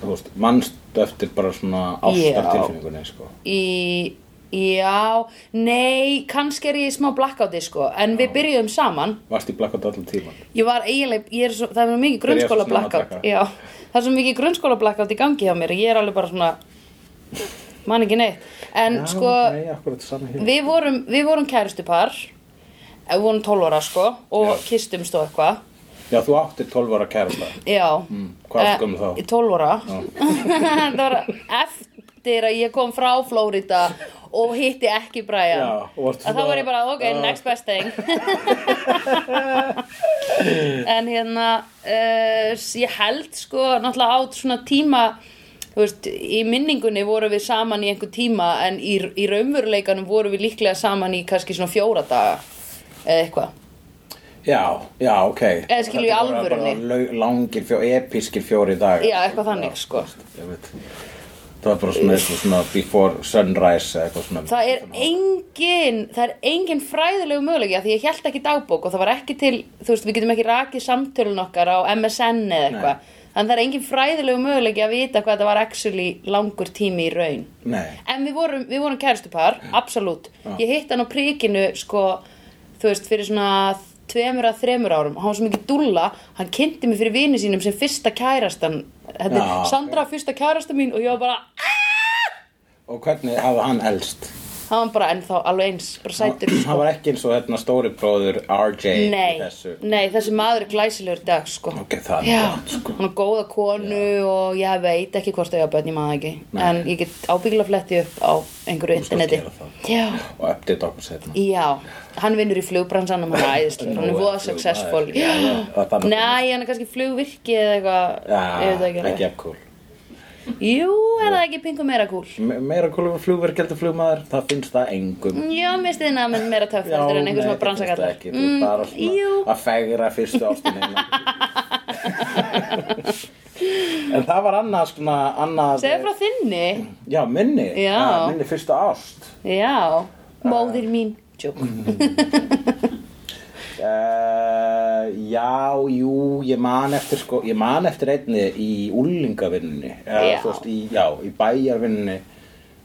Speaker 3: þú veist, manstu eftir bara svona ástartilfinningunni, sko.
Speaker 1: Í, já, nei, kannski er ég í smá blackouti, sko, en við byrjuðum saman.
Speaker 3: Varst í blackout allan tíman.
Speaker 1: Ég var eiginlega, ég er svo, það er mjög mikið
Speaker 3: Byrjaði svo
Speaker 1: grunnskóla
Speaker 3: snemma að
Speaker 1: blackout.
Speaker 3: drekka.
Speaker 1: Já, það er svo mikið grunnskóla blackout í gangi hjá mér, ég er alveg bara svona, man ekki neitt. En sko,
Speaker 3: Nei, akkurat saman hér.
Speaker 1: við vorum, við vorum kærustupar, eh, við vorum 12 ára, sko, og
Speaker 3: Já.
Speaker 1: kistumst og eitthvað.
Speaker 3: Já, þú áttir 12 ára kærasta.
Speaker 1: Já.
Speaker 3: Mm, hvað varstu
Speaker 1: Eh,
Speaker 3: gömul þá?
Speaker 1: Í 12 ára. það var eftir að ég kom frá Flórida og hitti ekki Brian.
Speaker 3: Já, og
Speaker 1: Að
Speaker 3: varstu svona-
Speaker 1: þá var ég bara, ok,
Speaker 3: Já.
Speaker 1: next best thing. en hérna, uh, ég held sko, náttúrulega át svona tíma, þú veist, í minningunni vorum við saman í einhver tíma en í, í raunveruleikanum vorum við líklega saman í kannski svona fjóra daga eða eitthvað.
Speaker 3: Já, já, ok.
Speaker 1: Eða skilur í
Speaker 3: Þetta voru
Speaker 1: alvörunni.
Speaker 3: bara lau- Langir, fjó, episkir fjóri dagar.
Speaker 1: Já, eitthvað þannig, sko.
Speaker 3: Ég veit. Það var bara svona, eitthvað svona before sunrise eða eitthvað svona.
Speaker 1: Það er engin, það er engin fræðilegu möguleiki að því ég held ekki dagbók og það var ekki til, þú veist, við getum ekki rakið samtölun okkar á MSN eða eitthvað. Þannig að það er engin fræðilegu möguleiki að vita hvað þetta var actually langur tími í raun.
Speaker 3: Nei.
Speaker 1: En við vorum, við vorum kæristupar, absolutt.
Speaker 3: Ah.
Speaker 1: Ég hitt hann á prikinu, sko, þú veist, fyrir svona tveimur að þremur árum. Hann var svo mikið dúlla, hann kynnti mig fyrir vini sínum sem fyrsta kærastan. Þetta
Speaker 3: Já.
Speaker 1: er Sandra fyrsta kærasta mín og ég var bara,
Speaker 3: Og hvernig hafa hann elst?
Speaker 1: hann var bara ennþá alveg eins, bara sætur. sko.
Speaker 3: Hann- Hann var ekki eins og hérna stóri bróður RJ í
Speaker 1: Nei,
Speaker 3: þessu.
Speaker 1: nei, þessi maður er glæsilegur í dag, sko.
Speaker 3: Ok, það er
Speaker 1: Já,
Speaker 3: gott, sko.
Speaker 1: hann er góða konu og ég veit ekki hvort þau hafa börn, ég maður ekki. En ég get ábyggilega fletti upp á einhverju
Speaker 3: skal
Speaker 1: interneti.
Speaker 3: gera það.
Speaker 1: Já,
Speaker 3: og update okkur setna
Speaker 1: já, hann vinnur í flugbransanum, hann er æðislega, hann er voða successful.
Speaker 3: Já, já, það er þannig.
Speaker 1: Nei, hann er kannski flugvirki eða eitthvað, ég veit það ekki.
Speaker 3: ekki
Speaker 1: alveg.
Speaker 3: ekki cool
Speaker 1: Jú, er það ekki pingu meira kúl?
Speaker 3: Me- meira cool um flugverk heldur flugmaður það finnst það engum
Speaker 1: Já, mér stiði naminn meira töff Mm,
Speaker 3: Já,
Speaker 1: heldur en einhver
Speaker 3: nei,
Speaker 1: svona
Speaker 3: það finnst það
Speaker 1: bransakallar.
Speaker 3: ekki, þú ert bara
Speaker 1: Mm, jú.
Speaker 3: svona að fegra fyrstu ástinni en það var annað svona annað
Speaker 1: Segðu frá þinni,
Speaker 3: já minni
Speaker 1: Já.
Speaker 3: Ah, minni fyrstu ást
Speaker 1: já, móðir mín, Oh tjók.
Speaker 3: Uh, já, jú, ég man eftir sko, ég man eftir einni í úlingavinninni
Speaker 1: Já.
Speaker 3: í, já, í bæjarvinninni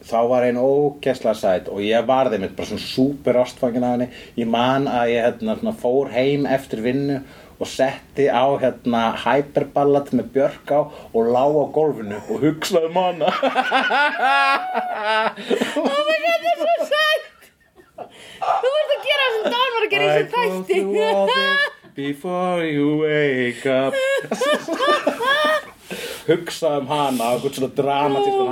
Speaker 3: þá var einn ógæsla sæt og ég varði mitt bara svona súper ástfangin af henni ég man að ég hérna, svona, fór heim eftir vinnu og setti á hérna hyperballat með björk á og lá á gólfinu og hugsaði um manna
Speaker 1: Þú ert að gera það sem Dan var að gera í þessum þætti
Speaker 3: before you wake up hugsa um hana og eitthvað svona dramatískan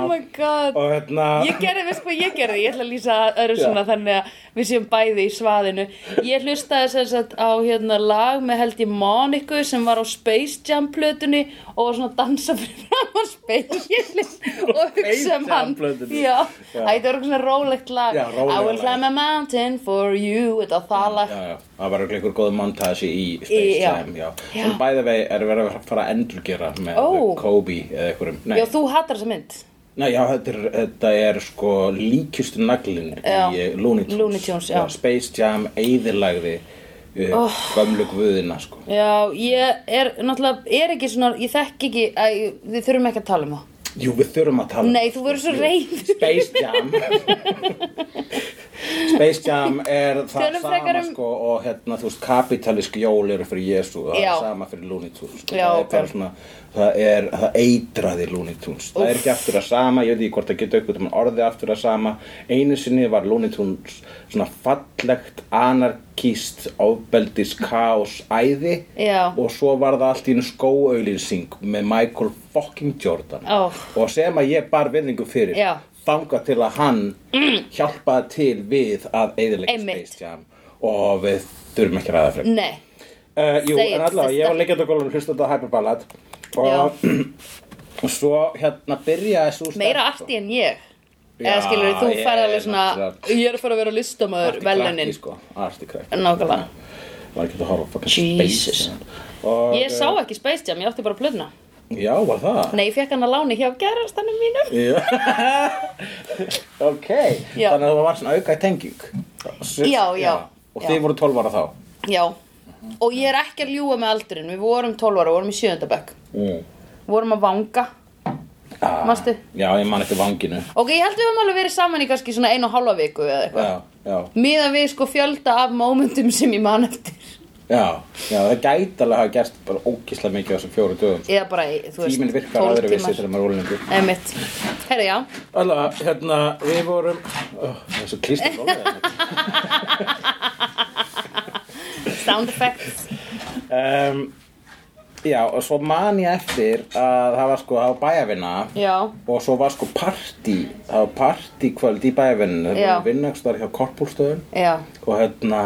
Speaker 1: Oh my
Speaker 3: hátt.
Speaker 1: god
Speaker 3: og hérna
Speaker 1: Ég gerði, veist hvað ég gerði, ég ætla að lýsa öðru svona
Speaker 3: Já.
Speaker 1: þannig að við séum bæði í svaðinu Ég hlustaði sem sagt á hérna lag með held ég Moniku sem var á Space Jam plötunni og var svona að dansa fyrir fram á Space Jam og hugsa um
Speaker 3: Jam
Speaker 1: hann
Speaker 3: plötunni.
Speaker 1: Já,
Speaker 3: Já.
Speaker 1: Æ, þetta var eitthvað svona rólegt lag
Speaker 3: Já, rólegt
Speaker 1: I will
Speaker 3: lag.
Speaker 1: climb a mountain for you, þetta það lag
Speaker 3: Já, já, það var ekki einhver góð montage í Space
Speaker 1: Í- já.
Speaker 3: Jam, já.
Speaker 1: Já.
Speaker 3: Sem bæði vegi er verið að fara að endurgera með
Speaker 1: Ó.
Speaker 3: Kobe eða einhverjum. Nei,
Speaker 1: Já, þú hatar þessa mynd
Speaker 3: nei já, þetta, er, þetta er sko líkjustu naglin
Speaker 1: Já.
Speaker 3: í eh, Looney Tunes.
Speaker 1: Looney Tunes, já.
Speaker 3: Space Jam eiðilagði uh, oh. gömlu guðina, sko.
Speaker 1: Já, ég er náttúrulega, er ekki svona, ég þekk ekki, að, við þurfum ekki að tala um það
Speaker 3: Jú, við þurfum að tala um
Speaker 1: Nei, þú verður svo reyð
Speaker 3: Space Jam Space Jam er það
Speaker 1: Tölum frekar
Speaker 3: sama
Speaker 1: um-
Speaker 3: sko og hérna þú veist kapitalísk jól eru fyrir Jésu það
Speaker 1: Já.
Speaker 3: er sama fyrir Looney Tunes sko.
Speaker 1: Já,
Speaker 3: það er
Speaker 1: ok.
Speaker 3: bara svona það er það eitraði Looney Tunes það er ekki aftur að sama ég veit ekki hvort það geta aukvöld mann orðið aftur að sama einu sinni var Looney Tunes svona fallegt anarkist ofbeldis kaos æði
Speaker 1: Já.
Speaker 3: og svo var það allt í einu skóauðlýsing með Michael fucking Jordan
Speaker 1: Ó.
Speaker 3: og sem að ég bar vinningu fyrir
Speaker 1: Já.
Speaker 3: þanga til að hann hjálpaði til við að eiðilega
Speaker 1: Einmitt.
Speaker 3: Space Jam og við þurfum ekki að ræða fyrir
Speaker 1: Nei,
Speaker 3: uh, Jú,
Speaker 1: Segir
Speaker 3: en allavega, ég
Speaker 1: þetta.
Speaker 3: var leikjandi okkur að hlusta þetta Hyperballad og, og svo hérna byrjaði svo
Speaker 1: meira arti en ég
Speaker 3: Já,
Speaker 1: Eða skilur, þú
Speaker 3: ég
Speaker 1: færði alveg
Speaker 3: er
Speaker 1: svona
Speaker 3: náttúrulega-
Speaker 1: Ég er að fara að vera listamaður velunin
Speaker 3: sko, Arti krakki
Speaker 1: Nákvæmlega
Speaker 3: Var ekki að horfa á fucking
Speaker 1: Jesus.
Speaker 3: Space Jam og,
Speaker 1: Ég sá ekki Space Jam, ég átti bara að plöðna
Speaker 3: Já, var það
Speaker 1: Nei, ég fekk hann að láni hjá gerastanum mínum
Speaker 3: Já. ok,
Speaker 1: Já.
Speaker 3: þannig að það var svona auka tenging S-
Speaker 1: Já, já.
Speaker 3: Og
Speaker 1: Já.
Speaker 3: þið voru 12 ára þá
Speaker 1: Já, og ég er ekki að ljúga með aldurinn Við vorum 12 ára, vorum í sjöndabökk
Speaker 3: mm.
Speaker 1: Vorum að vanga
Speaker 3: ah.
Speaker 1: Manstu?
Speaker 3: Já, ég man eftir vanginu
Speaker 1: Ok, ég held við höfum alveg verið saman í kannski svona einu og hálfa viku eða eitthvað
Speaker 3: Já, já,
Speaker 1: Miða við sko fjölda af momentum sem ég man eftir
Speaker 3: já, já, það gæti alveg að hafa gerst bara ógislega mikið á þessum fjóru dögum
Speaker 1: Eða bara, í, þú veist,
Speaker 3: Tíminn virkar aðra vissi
Speaker 1: tímar
Speaker 3: þegar maður er ólengur
Speaker 1: Eða mitt Herra, já
Speaker 3: Alltaf, hérna, við vorum oh, Það er svo klístur rólega
Speaker 1: Sound effects
Speaker 3: um, Já, og svo man ég eftir að það var sko, það var bæjarvinna
Speaker 1: Já
Speaker 3: og svo var sko partí það var partí kvöld í bæjarvinninu það
Speaker 1: Já.
Speaker 3: var vinnakstar hjá korpúlstöðum
Speaker 1: Já,
Speaker 3: og hérna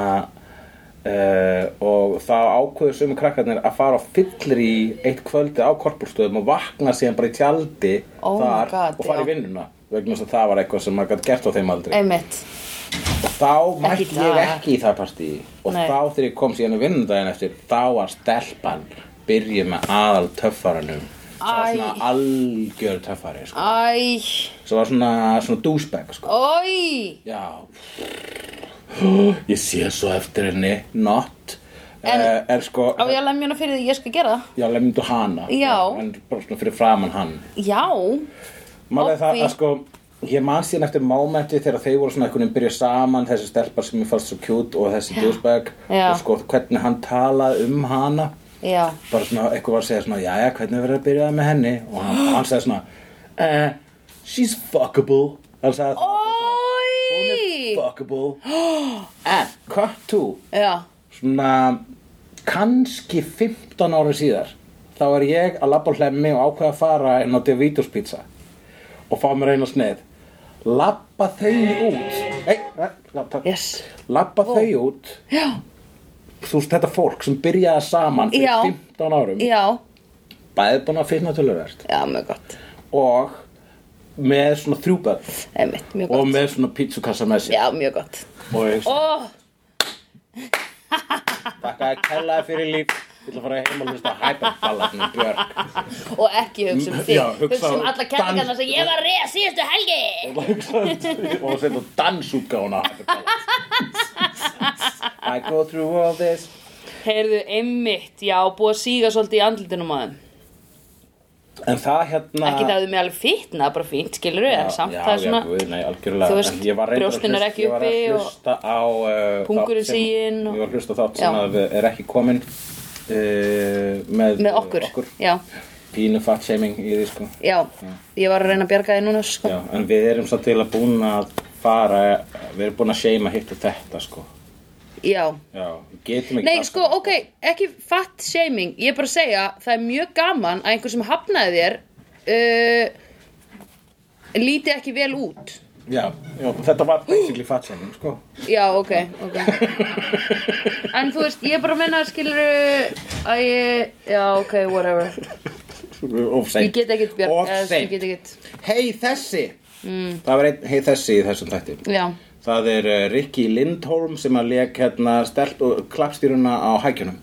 Speaker 3: Uh, og þá ákveðu sömu krakkarnir að fara á fyllir í eitt kvöldi á korpúrstöðum og vakna síðan bara í tjaldi
Speaker 1: Oh my
Speaker 3: þar
Speaker 1: God,
Speaker 3: og fara í
Speaker 1: já.
Speaker 3: vinnuna vegna þess að það var eitthvað sem maður gæti gert á þeim aldrei
Speaker 1: einmitt
Speaker 3: og þá mætti
Speaker 1: dag.
Speaker 3: ég ekki í það partí og
Speaker 1: Nei.
Speaker 3: þá þegar ég kom síðan í vinnundaginn eftir þá var stelpan byrjuð með aðal töffaranum það
Speaker 1: Æ.
Speaker 3: var svona algjör töffari sko.
Speaker 1: Æ,
Speaker 3: sem var svona, svona douchebag sko.
Speaker 1: oi
Speaker 3: Já Ég sé svo eftir henni Not en, Er sko
Speaker 1: Á ég að lemja hana fyrir því ég skal gera það
Speaker 3: Já, lemndu hana
Speaker 1: Já.
Speaker 3: En bara svona fyrir framan hann
Speaker 1: Já
Speaker 3: Málega það
Speaker 1: Obvi.
Speaker 3: að sko Ég man síðan eftir mómenti þegar þeir voru svona einhvern veginn byrja saman þessi stelpar sem ég fannst svo cute og þessi douchebag
Speaker 1: Já.
Speaker 3: og sko hvernig hann talaði um hana
Speaker 1: Já
Speaker 3: bara svona, eitthvað var að segja svona, jæja, hvernig verður að byrja það með henni og hann, hann segði svona eh, she's fuckable hann sagði það, hún er
Speaker 1: Oi
Speaker 3: fuckable en, cut to
Speaker 1: Já
Speaker 3: svona, kannski 15 ára síðar þá er ég að labba á hlemmi og ákveða að fara inn á Davidos pizza og fá mér eina sneið labba þau út ei, nei, já, takk.
Speaker 1: Yes
Speaker 3: labba þau út
Speaker 1: Já
Speaker 3: þú veist þetta fólk sem byrjaði saman fyrir
Speaker 1: Já.
Speaker 3: 15 árum
Speaker 1: Já
Speaker 3: bæði búin að finna tölurvert
Speaker 1: Já, mjög gott
Speaker 3: og með svona þrjú börn
Speaker 1: Einmitt, mjög
Speaker 3: og
Speaker 1: gott
Speaker 3: með svona pítsukassa með sér
Speaker 1: Já, mjög gott Oh,
Speaker 3: og ég
Speaker 1: Ó,
Speaker 3: þakka að kella fyrir líf ég ætla að fara heim og hlusta á hæperballarnum Björk
Speaker 1: og ekki hugsa um þig
Speaker 3: Já, hugsa
Speaker 1: um
Speaker 3: um
Speaker 1: alla
Speaker 3: dans-
Speaker 1: kenningarna sem ég var að reyða síðustu helgi
Speaker 3: og að um setja á dansútgána I go through all this
Speaker 1: Heyrðu, einmitt, já, búið að síga svolítið í andlutinum á þeim
Speaker 3: en það hérna
Speaker 1: Ekki það að þau með alveg fitna, bara fínt, skilur við, en samt
Speaker 3: já,
Speaker 1: það er
Speaker 3: já,
Speaker 1: svona
Speaker 3: guð, nei, algjörlega
Speaker 1: Þú veist,
Speaker 3: En ég var reyndar að
Speaker 1: brjóstin eru
Speaker 3: hlusta-
Speaker 1: ekki
Speaker 3: ég var að
Speaker 1: uppi og-
Speaker 3: hlusta á uh,
Speaker 1: Pungurinn
Speaker 3: þátt sem-
Speaker 1: siginn og-
Speaker 3: ég var að hlusta á þátt
Speaker 1: Já.
Speaker 3: sem að er ekki komin uh, með,
Speaker 1: með okkur.
Speaker 3: okkur.
Speaker 1: Já,
Speaker 3: pínu fat shaming í því sko
Speaker 1: já, ég var að reyna að bjarga þið núna, sko.
Speaker 3: Já, en við erum samt til að búin að fara, við erum búin að seima hitt og þetta, sko.
Speaker 1: Já.
Speaker 3: Já, við getum ekki...
Speaker 1: Nei,
Speaker 3: allt-
Speaker 1: sko, ok, ekki fatt shaming, ég er bara að segja, það er mjög gaman að einhver sem hafnaði þér uh, líti ekki vel út
Speaker 3: já, já, þetta var basically fatsaming sko.
Speaker 1: Já, ok, ok En þú veist, ég bara menna skilur að ég, já, ok, whatever
Speaker 3: of seint
Speaker 1: Ég get ekkert bjart
Speaker 3: of
Speaker 1: eða, Ég
Speaker 3: seint
Speaker 1: get Mm. ekkert,
Speaker 3: hei þessi það var einn hei þessi í þessum þætti
Speaker 1: já
Speaker 3: það er uh, Ricky Lindholm sem að leik hérna stelt og klappstýruna á hækjunum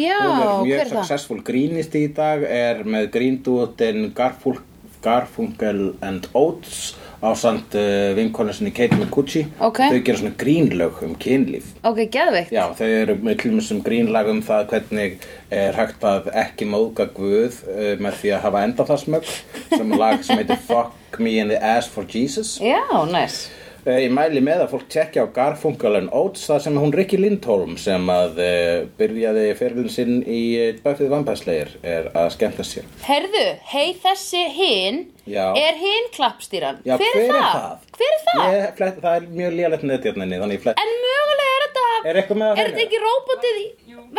Speaker 1: Já,
Speaker 3: hún er
Speaker 1: hver
Speaker 3: mjög
Speaker 1: er það?
Speaker 3: successful grínist í dag er með gríndúotin Garful, Garfunkel and Oates á samt uh, vinkonu sinni Kate McCucci
Speaker 1: Ok.
Speaker 3: þau gera svona grínlög um kynlíf
Speaker 1: Ok, geðveikt
Speaker 3: Já, þau eru með klumum sem grínlag um það hvernig er hægt að ekki móðga Guð uh, með því að hafa endafarsmögg sem lag sem heitir Fuck Me in the Ass for Jesus
Speaker 1: Já, næs
Speaker 3: Eh, Ég mæli með að fólk tekja á Garfunkel and Oates þar sem hún Ricky Lindholm sem að uh, byrjaði ferðin sinn í uh, Buffyð Vampæsleir er að skemmta sér.
Speaker 1: Herðu, hei þessi hinn
Speaker 3: Já.
Speaker 1: Er hinn klappstýran?
Speaker 3: Já,
Speaker 1: hver, er það? Hver er það?
Speaker 3: Ég, flett, það er mjög lélegt netjarninni, þannig ég flett.
Speaker 1: En mögulega er þetta
Speaker 3: Er eitthvað með að hérna?
Speaker 1: Er þetta ekki róbotið í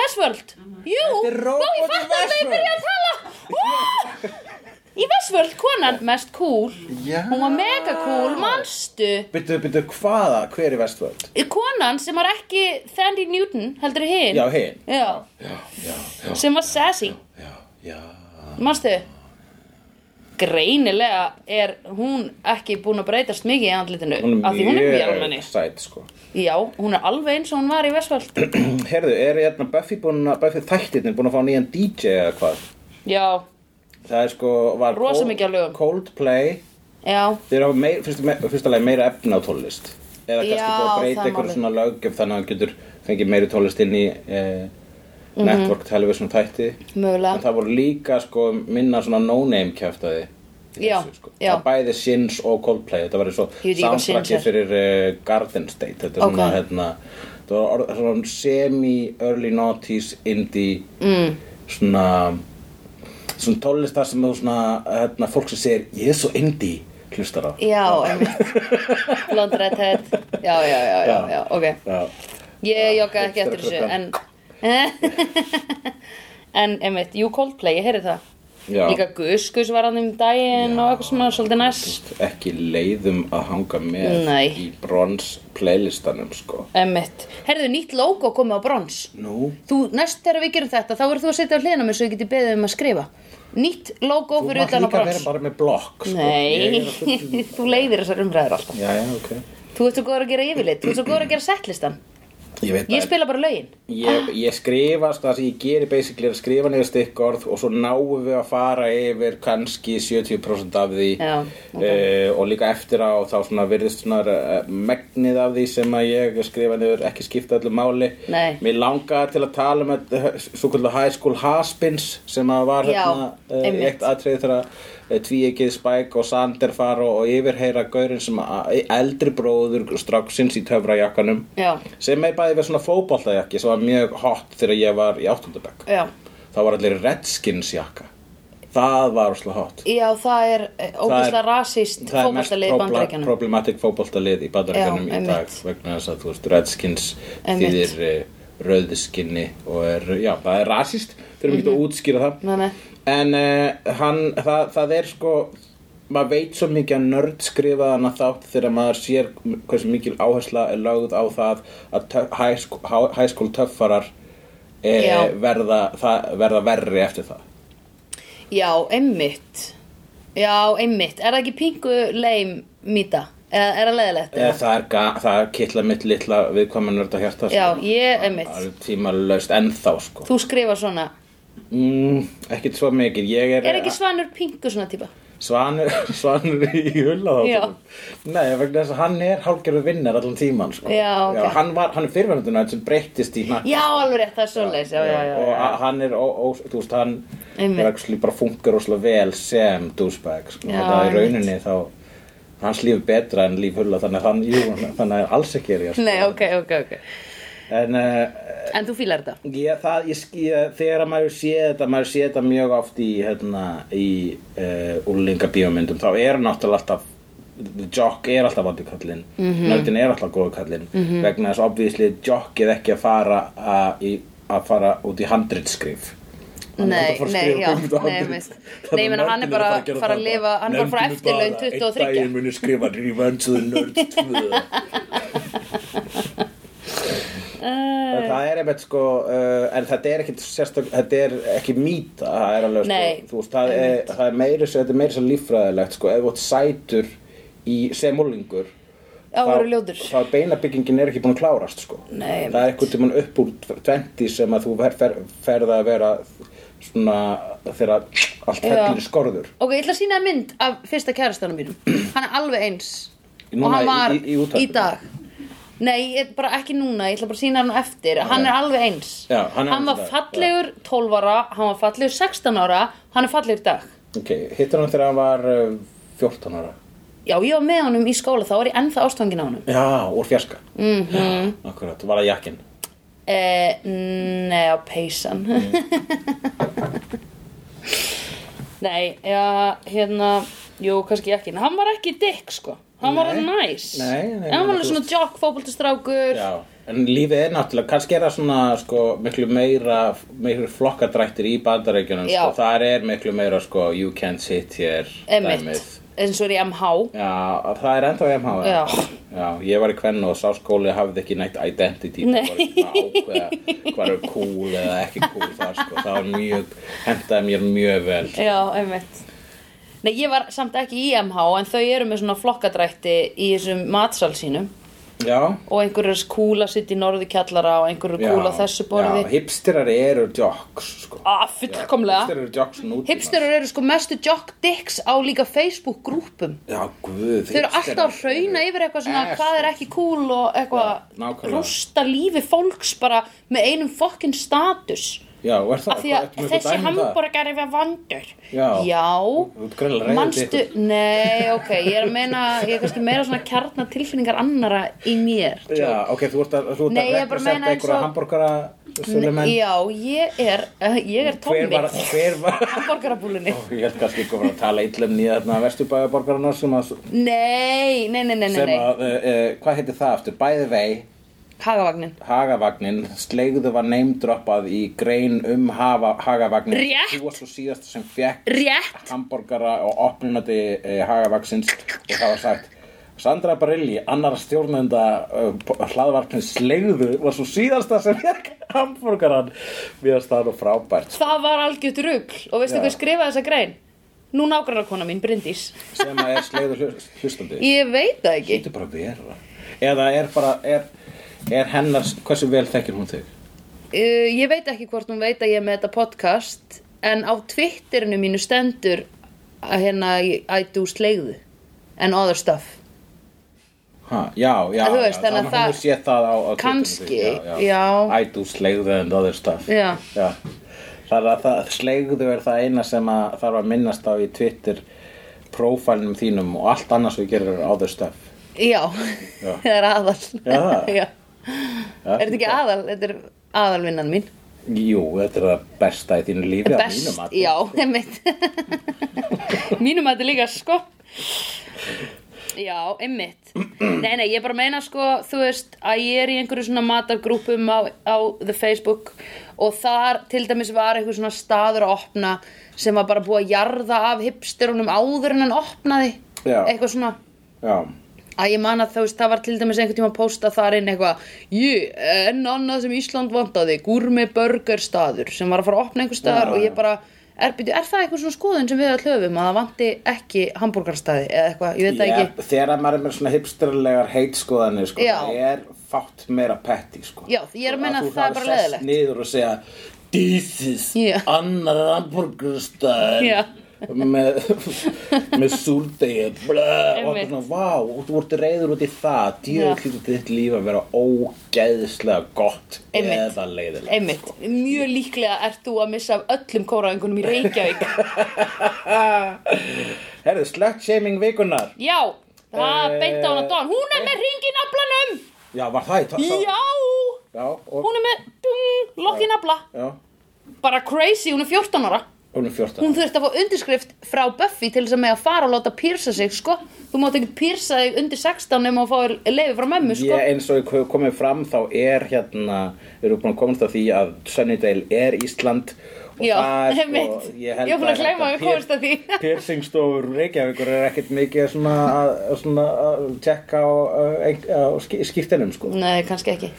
Speaker 1: Vestworld? Jú,
Speaker 3: Þetta er róbot
Speaker 1: Vá, ég
Speaker 3: í
Speaker 1: fatt að ég
Speaker 3: Westworld.
Speaker 1: byrja að tala Vá! Í Vestworld, konan mest cool
Speaker 3: Já.
Speaker 1: Hún var mega cool, manstu
Speaker 3: Byttu, byttu, hvaða? Hver er vestvöld?
Speaker 1: Konan sem var ekki Thandie Newton, heldur hinn
Speaker 3: Já, hinn.
Speaker 1: Já,
Speaker 3: Já, já, já,
Speaker 1: sem var sassy
Speaker 3: já, já.
Speaker 1: Manstu? Greinilega er hún ekki búin að breytast mikið í andlitinu af því hún er vélmenni
Speaker 3: sæt, sko.
Speaker 1: Já, hún er alveg eins og hún var í Vestworld
Speaker 3: Herðu, er hérna Buffy búin að, Buffy þættirnir búin að fá nýjan DJ eða hvað?
Speaker 1: Já,
Speaker 3: Það er sko, var
Speaker 1: Rosa
Speaker 3: Cold-
Speaker 1: mikið af lögum.
Speaker 3: Coldplay,
Speaker 1: já
Speaker 3: þeir hafa meir, fyrst, me, fyrsta lagi meira efni á tónlist eða kannski
Speaker 1: Já,
Speaker 3: búið að breyta
Speaker 1: það
Speaker 3: einhverju
Speaker 1: málið.
Speaker 3: svona löggjöf þannig að hann getur fengið meiri tónlist inn í eh, network television þætti
Speaker 1: Mhm. Mögulega.
Speaker 3: en það voru líka sko minna svona no-name kjæftaði
Speaker 1: Já,
Speaker 3: sko.
Speaker 1: já.
Speaker 3: það bæði Sins og Coldplay þetta var svo
Speaker 1: Ég veit ekki hvað Sins
Speaker 3: soundtrackið
Speaker 1: er.
Speaker 3: fyrir uh, Garden State þetta er svona
Speaker 1: Ok.
Speaker 3: hérna þetta var orð, svona semi-early noughties indie mm. svona svona tónlist þar sem þú svona hérna, fólk sem segir ég er svo indie hlustar á
Speaker 1: Já, einmitt Blond redhead Já, já, já, já, já, ok
Speaker 3: Já.
Speaker 1: Ég joggaði ekki eftir þessu
Speaker 3: hipsterklubben.
Speaker 1: En En einmitt, jú Coldplay, ég heyri það
Speaker 3: Já.
Speaker 1: Líka Gus, Gus var hann um daginn og eitthvað svona svolítið næs
Speaker 3: ekki leiðum að hanga með
Speaker 1: Nei.
Speaker 3: í brons playlistanum sko
Speaker 1: Einmitt Herðu, nýtt logo komið á brons
Speaker 3: Nú,
Speaker 1: Þú, næst þegar við gerum þetta, þá verður þú að setja á hliðina mér svo ég geti beðið um að skrifa Nýtt logo
Speaker 3: þú
Speaker 1: fyrir
Speaker 3: mátt
Speaker 1: utan á
Speaker 3: líka vera
Speaker 1: brons
Speaker 3: bara með blokk sko. Ég er að fullum-
Speaker 1: Nei, þú leiðir þessar umræður alltaf
Speaker 3: Já, já, ok
Speaker 1: Þú ert svo góður að gera yfirlit, þú ert svo góður að gera setlistan
Speaker 3: Ég veit
Speaker 1: Ég
Speaker 3: það
Speaker 1: spila bara lögin
Speaker 3: Ég, ég skrifa, sko, það sem ég geri basically er að skrifa niður stikkorð og svo náum við að fara yfir kannski 70% af því
Speaker 1: Já, ok.
Speaker 3: Eh, og líka eftir á þá svona virðist svona eh, megnið af því sem að ég skrifa niður ekki skipta öllu máli
Speaker 1: Nei.
Speaker 3: Mér langar til að tala um eh, svo kvöldu high school haspins sem að var
Speaker 1: Já,
Speaker 3: hérna eh, í
Speaker 1: einmitt.
Speaker 3: eitt atriði þegar eh, tvíegið Spike og Sander fara og yfirheyra gaurinn sem að- eldri bróður stráksins í töfrajakkanum
Speaker 1: Já,
Speaker 3: sem er bæði með svona fótboltajakki sem var mjög hot þegar ég var í áttundabæk
Speaker 1: já,
Speaker 3: það var allir Redskins jakka það var svona hot
Speaker 1: já það er eh, ógeðslega rasist
Speaker 3: það er mest
Speaker 1: fókbaltalið
Speaker 3: proble-
Speaker 1: bandarækjanum
Speaker 3: problematic fótboltalið í
Speaker 1: Já,
Speaker 3: bandarækjanum í dag
Speaker 1: einmitt.
Speaker 3: vegna þess að þú veist Redskins
Speaker 1: Einmitt.
Speaker 3: þýðir eh, rauðskinni og er, já, það er rasist þurfum ekki
Speaker 1: Mhm.
Speaker 3: að útskýra það
Speaker 1: Nei, nei.
Speaker 3: en uh, hann, það, það er sko maður veit svo mikið að nörd skrifaða hann að þátt þegar maður sér hversu mikil áhersla er lögð á það að töf- high school- há- high school töffarar eh,
Speaker 1: Já.
Speaker 3: verða, það, verða verri eftir það
Speaker 1: Já, einmitt Já, einmitt, er það ekki pingu leim mýta? Eða er það leðilegt?
Speaker 3: Eh, það er, ga- það er kittla mitt litla viðkvæma nörd að hjarta
Speaker 1: Já,
Speaker 3: sko.
Speaker 1: ég,
Speaker 3: það
Speaker 1: einmitt
Speaker 3: er tímalaust ennþá sko.
Speaker 1: Þú skrifa svona
Speaker 3: mm, ekkert svo mikið ég er,
Speaker 1: Er ekki svanur pingu svona típa?
Speaker 3: svanur, svanur í hulla þá
Speaker 1: Já.
Speaker 3: Nei, vegna þess að hann er hálgerðu vinnar allan tíman sko.
Speaker 1: Já, ok.
Speaker 3: hann, var, hann er fyrirverðunduna sem breyttist í hann
Speaker 1: Já, alveg rétt, það er svoleiðis Já, já, já,
Speaker 3: og
Speaker 1: já,
Speaker 3: a- hann er, ó, ó, þú veist, hann
Speaker 1: Einmitt.
Speaker 3: er actually bara funkar óslega vel sem douchebag sko.
Speaker 1: Já,
Speaker 3: þannig að
Speaker 1: einmitt.
Speaker 3: í rauninni þá hans líf er betra en líf hulla þannig að hann, jú, þannig að alls ekki er ég
Speaker 1: Nei, ok, ok, ok
Speaker 3: en uh,
Speaker 1: En þú fílar þetta?
Speaker 3: Ég, það, ég, sk- ég, þegar að maður sé þetta, maður sé þetta mjög oft í, hérna, í uh, úrlingabíómyndum, þá er náttúrulega alltaf, the jock er alltaf vandu kallinn, mm nördin er alltaf góðu kallinn, vegna þess obvísli jock er ekki að fara, a, í, að fara út í handritskrif. Hann er
Speaker 1: Nei,
Speaker 3: bara að fara að
Speaker 1: nei,
Speaker 3: skrifa
Speaker 1: já,
Speaker 3: bókmenntahandrit.
Speaker 1: nei, einmitt.
Speaker 3: Þannig
Speaker 1: Nei, ég meina,
Speaker 3: að
Speaker 1: hann er
Speaker 3: nördin
Speaker 1: bara
Speaker 3: að gera
Speaker 1: fara að
Speaker 3: það.
Speaker 1: lifa- hann er bara að fara
Speaker 3: Nefndin
Speaker 1: eftirlaun
Speaker 3: bara,
Speaker 1: 23.
Speaker 3: Einn daginn muni skrifa Revenge of the Nerds 2
Speaker 1: Eh.
Speaker 3: En það er einmitt sko uh, en þetta er ekki sérstök þetta er ekki mýta það er alveg
Speaker 1: Nei,
Speaker 3: sko, þú veist, það, er, það er meira sér, þetta er meira sér líffræðilegt sko, ef þú ert sætur í sem úlingur
Speaker 1: Já,
Speaker 3: þá-
Speaker 1: verður ljótur.
Speaker 3: þá er beinabyggingin er ekki búin að klárast sko.
Speaker 1: Nei,
Speaker 3: það er eitthvað tímann upp úr 20 sem að þú fer, fer, ferð að vera svona þegar
Speaker 1: Já.
Speaker 3: allt fellur í skorður
Speaker 1: Ok, ég ætla að sína þér mynd af fyrsta kærastanum mínum. Hann er alveg eins.
Speaker 3: Núna
Speaker 1: og hann var
Speaker 3: í- í- í útvarpinu?
Speaker 1: dag. Nei, ég, bara ekki núna, ég ætla bara að sína hann á eftir. Hann er alveg eins.
Speaker 3: Já, hann er
Speaker 1: var
Speaker 3: alveg eins í dag,
Speaker 1: fallegur 12 ára, hann var fallegur 16 ára, hann er fallegur í dag.
Speaker 3: ok, hittur hann þegar hann var uh, 14 ára
Speaker 1: Já, ég var með honum í skóla, þá var ég ennþá ástfangin á honum.
Speaker 3: já, úr fjarska
Speaker 1: Mhm.
Speaker 3: mm -hmm. akkurat, var það jakkinn
Speaker 1: Eh, nei, á peysan
Speaker 3: Mm.
Speaker 1: Nei, já, hérna Jú, kannski ekki, en hann var ekki dick, sko Hann var
Speaker 3: Nei.
Speaker 1: næs
Speaker 3: Nei,
Speaker 1: En
Speaker 3: nei,
Speaker 1: hann
Speaker 3: nei,
Speaker 1: var alveg
Speaker 3: þú
Speaker 1: svona
Speaker 3: veist.
Speaker 1: jokk, fótboltastrákur
Speaker 3: Já, en lífið er náttúrulega, kannski er það svona sko, miklu meira, meira flokkadrættir í bandarækjunum,
Speaker 1: Já.
Speaker 3: sko, þar er miklu meira sko, you can't sit here
Speaker 1: Emmitt, eins og er í MH
Speaker 3: Já, það er ennþá MH eða?
Speaker 1: Já.
Speaker 3: Já, ég var í kvennu og sáskóli hafði ekki nætt identity
Speaker 1: Nei.
Speaker 3: bara svona ákveða hvað er cool eða ekki cool þar sko, það var mjög hendaði mér mjög vel
Speaker 1: Já, emmitt Nei, ég var samt ekki í MH En þau eru með svona flokkadrætti í þessum matsal sínum
Speaker 3: Já,
Speaker 1: Og einhverju er kúla sitt í norðu kjallara Og einhverju er kúla
Speaker 3: já,
Speaker 1: þessu borði
Speaker 3: Já, hipsterar eru jocks sko
Speaker 1: Ah, fullkomlega
Speaker 3: Hipsterar eru jocks nútíma
Speaker 1: Hipsterar eru sko mestu jock dicks á líka Facebook grúpum
Speaker 3: Já,
Speaker 1: Þau eru
Speaker 3: guð hipsterar
Speaker 1: alltaf að hrauna yfir eitthvað svona
Speaker 3: Ass.
Speaker 1: hvað er ekki cool og
Speaker 3: Já,
Speaker 1: eitthvað
Speaker 3: nákvæmlega.
Speaker 1: rústa lífi fólks bara með einum fokkin status
Speaker 3: Já, og er það
Speaker 1: af því
Speaker 3: ertu
Speaker 1: að
Speaker 3: með
Speaker 1: þessi
Speaker 3: eitthvað dæmi um það?
Speaker 1: hambúrgar er við vandur
Speaker 3: Já. Þú ert
Speaker 1: Já
Speaker 3: greinilega reiður til
Speaker 1: Manstu, nei, ok, ég er að meina ég er kannski meira svona kjarnar tilfinningar annara í mér
Speaker 3: um Já, ok, þú ert að, þú ert
Speaker 1: Nei,
Speaker 3: að
Speaker 1: ég bara meina eins
Speaker 3: representa einhverja
Speaker 1: og-
Speaker 3: hambúrgara sölumenn
Speaker 1: Já, ég er, eh, ég er
Speaker 3: Hver
Speaker 1: tómi
Speaker 3: var, hver var
Speaker 1: hambúrgarabúlunni
Speaker 3: Ég held kannski ekki að fara að tala illum nýja þarna vesturbæðaborgarna sem að,
Speaker 1: Nei, nei, nei, nei, nei,
Speaker 3: sem
Speaker 1: nei.
Speaker 3: að uh, uh, hvað heitir það aftur? Bæði vei,
Speaker 1: Hagavagnin
Speaker 3: Hagavagnin sleigðu var neymdroppað í grein um hafa, Hagavagnin
Speaker 1: Rétt.
Speaker 3: Þú var svo síðast sem fekk
Speaker 1: Rétt
Speaker 3: hambúrgara og opnunandi eh, Hagavagsins og það var sagt Sandra Barilli, annar stjórnenda uh, hlaðvarpin sleigðu var svo síðasta sem fekk hambúrgaran við að staða nú frábært
Speaker 1: Það var algjört rugl og veistu
Speaker 3: Já.
Speaker 1: hver skrifaði þessa grein? Nú nágrannarkona mín, Bryndís.
Speaker 3: sem að er sleigðu hlustandi
Speaker 1: Ég veit það ekki.
Speaker 3: Þetta bara að vera eða er bara, er, er hennar hversu vel þekkir hún þig?
Speaker 1: Uh, ég veit ekki hvort hún veit að ég er með þetta podcast en á Twitterinu mínu stendur að hérna I I do slegðu and other stuff.
Speaker 3: Ha, já, já,
Speaker 1: Að þú veist,
Speaker 3: já,
Speaker 1: þannig að
Speaker 3: þannig að hún
Speaker 1: það-
Speaker 3: sé það á, á
Speaker 1: Kannski,
Speaker 3: Twitterinu,
Speaker 1: já.
Speaker 3: I do sleigðu and other stuff
Speaker 1: Já.
Speaker 3: Já. Það er að það, sleigðu er það eina sem að þarf að minnast á í Twitter prófælnum þínum og allt annars við gerir á þau stöf.
Speaker 1: Já,
Speaker 3: Já.
Speaker 1: það er aðal.
Speaker 3: Já.
Speaker 1: Já. Er þetta ekki aðal? Þetta er aðalvinnan mín.
Speaker 3: Jú, þetta er það besta í þínu lífi að
Speaker 1: Best,
Speaker 3: mínum að
Speaker 1: já, einmitt. mínum að þetta líka, sko. Já, einmitt. Nei, nei, ég bara meina, sko, þú veist, að ég er í einhverju svona matargrúpum á, á the Facebook og þar til dæmis var einhver svona staður að opna sem var bara búið að jarða af hipsterunum áður en hann opnaði.
Speaker 3: Já.
Speaker 1: Eitthvað svona
Speaker 3: Já,
Speaker 1: að ég man að þú veist, það var til dæmis einhvern tíma að posta þar inn eitthvað Jú, enn annað sem Ísland vandaði, gúrmi börgarstaður sem var að fara að opna einhver staðar
Speaker 3: Já,
Speaker 1: og
Speaker 3: já.
Speaker 1: ég bara, er, byrju, er það eitthvað svona skoðun sem við öll höfum að það vandi ekki hambúrgarstaði eða eitthvað, ég veit það
Speaker 3: ég,
Speaker 1: ekki
Speaker 3: þegar maður er með svona hipsterlegar heitskoðanir sko,
Speaker 1: Já.
Speaker 3: það er fátt meira petti sko.
Speaker 1: Já, ég er að meina að
Speaker 3: þú
Speaker 1: það er
Speaker 3: þarf
Speaker 1: bara
Speaker 3: sest
Speaker 1: leiðilegt.
Speaker 3: niður og segja This is
Speaker 1: Já.
Speaker 3: annar hamburgerstæð
Speaker 1: Já.
Speaker 3: með, með súrdegi blö, og
Speaker 1: Einmitt.
Speaker 3: eitthvað svona, vá, og þú ert reyður út í það
Speaker 1: Já.
Speaker 3: djöðu hlýtur þitt líf að vera ógeðslega gott
Speaker 1: Einmitt.
Speaker 3: eða leiðilegt
Speaker 1: Einmitt, mjög líklega ert þú að missa af öllum kóraðingunum í Reykjavík
Speaker 3: Herðu, slögt shaming vikunar
Speaker 1: Já, það
Speaker 3: Eh,
Speaker 1: beinta hún að don Hún er með ringin aflanum
Speaker 3: Já, var það í tóð?
Speaker 1: Já,
Speaker 3: Já, og,
Speaker 1: hún er með dung, lokkin afla
Speaker 3: já,
Speaker 1: Bara crazy, hún er 14 ára
Speaker 3: Hún er 14
Speaker 1: hún þurfti að fá undirskrift frá Buffy til þess að með að fara og láta pírsa sig sko. þú mátt ekki pírsa þig undir 16 ef maður fá leiði frá mömmu sko.
Speaker 3: Ég, eins og ég komið fram þá er hérna, við erum búin að komast að því að Sunnydale er Ísland og
Speaker 1: Já,
Speaker 3: það er sko,
Speaker 1: einmitt.
Speaker 3: ég held
Speaker 1: Ég var búin að gleyma
Speaker 3: þetta
Speaker 1: að við komumst að því.
Speaker 3: pier- Piercingstofur Reykjavíkur er ekkert mikið svona að, svona að tjekka á, uh, ein- á ski- skírteinum sko.
Speaker 1: nei, kannski ekki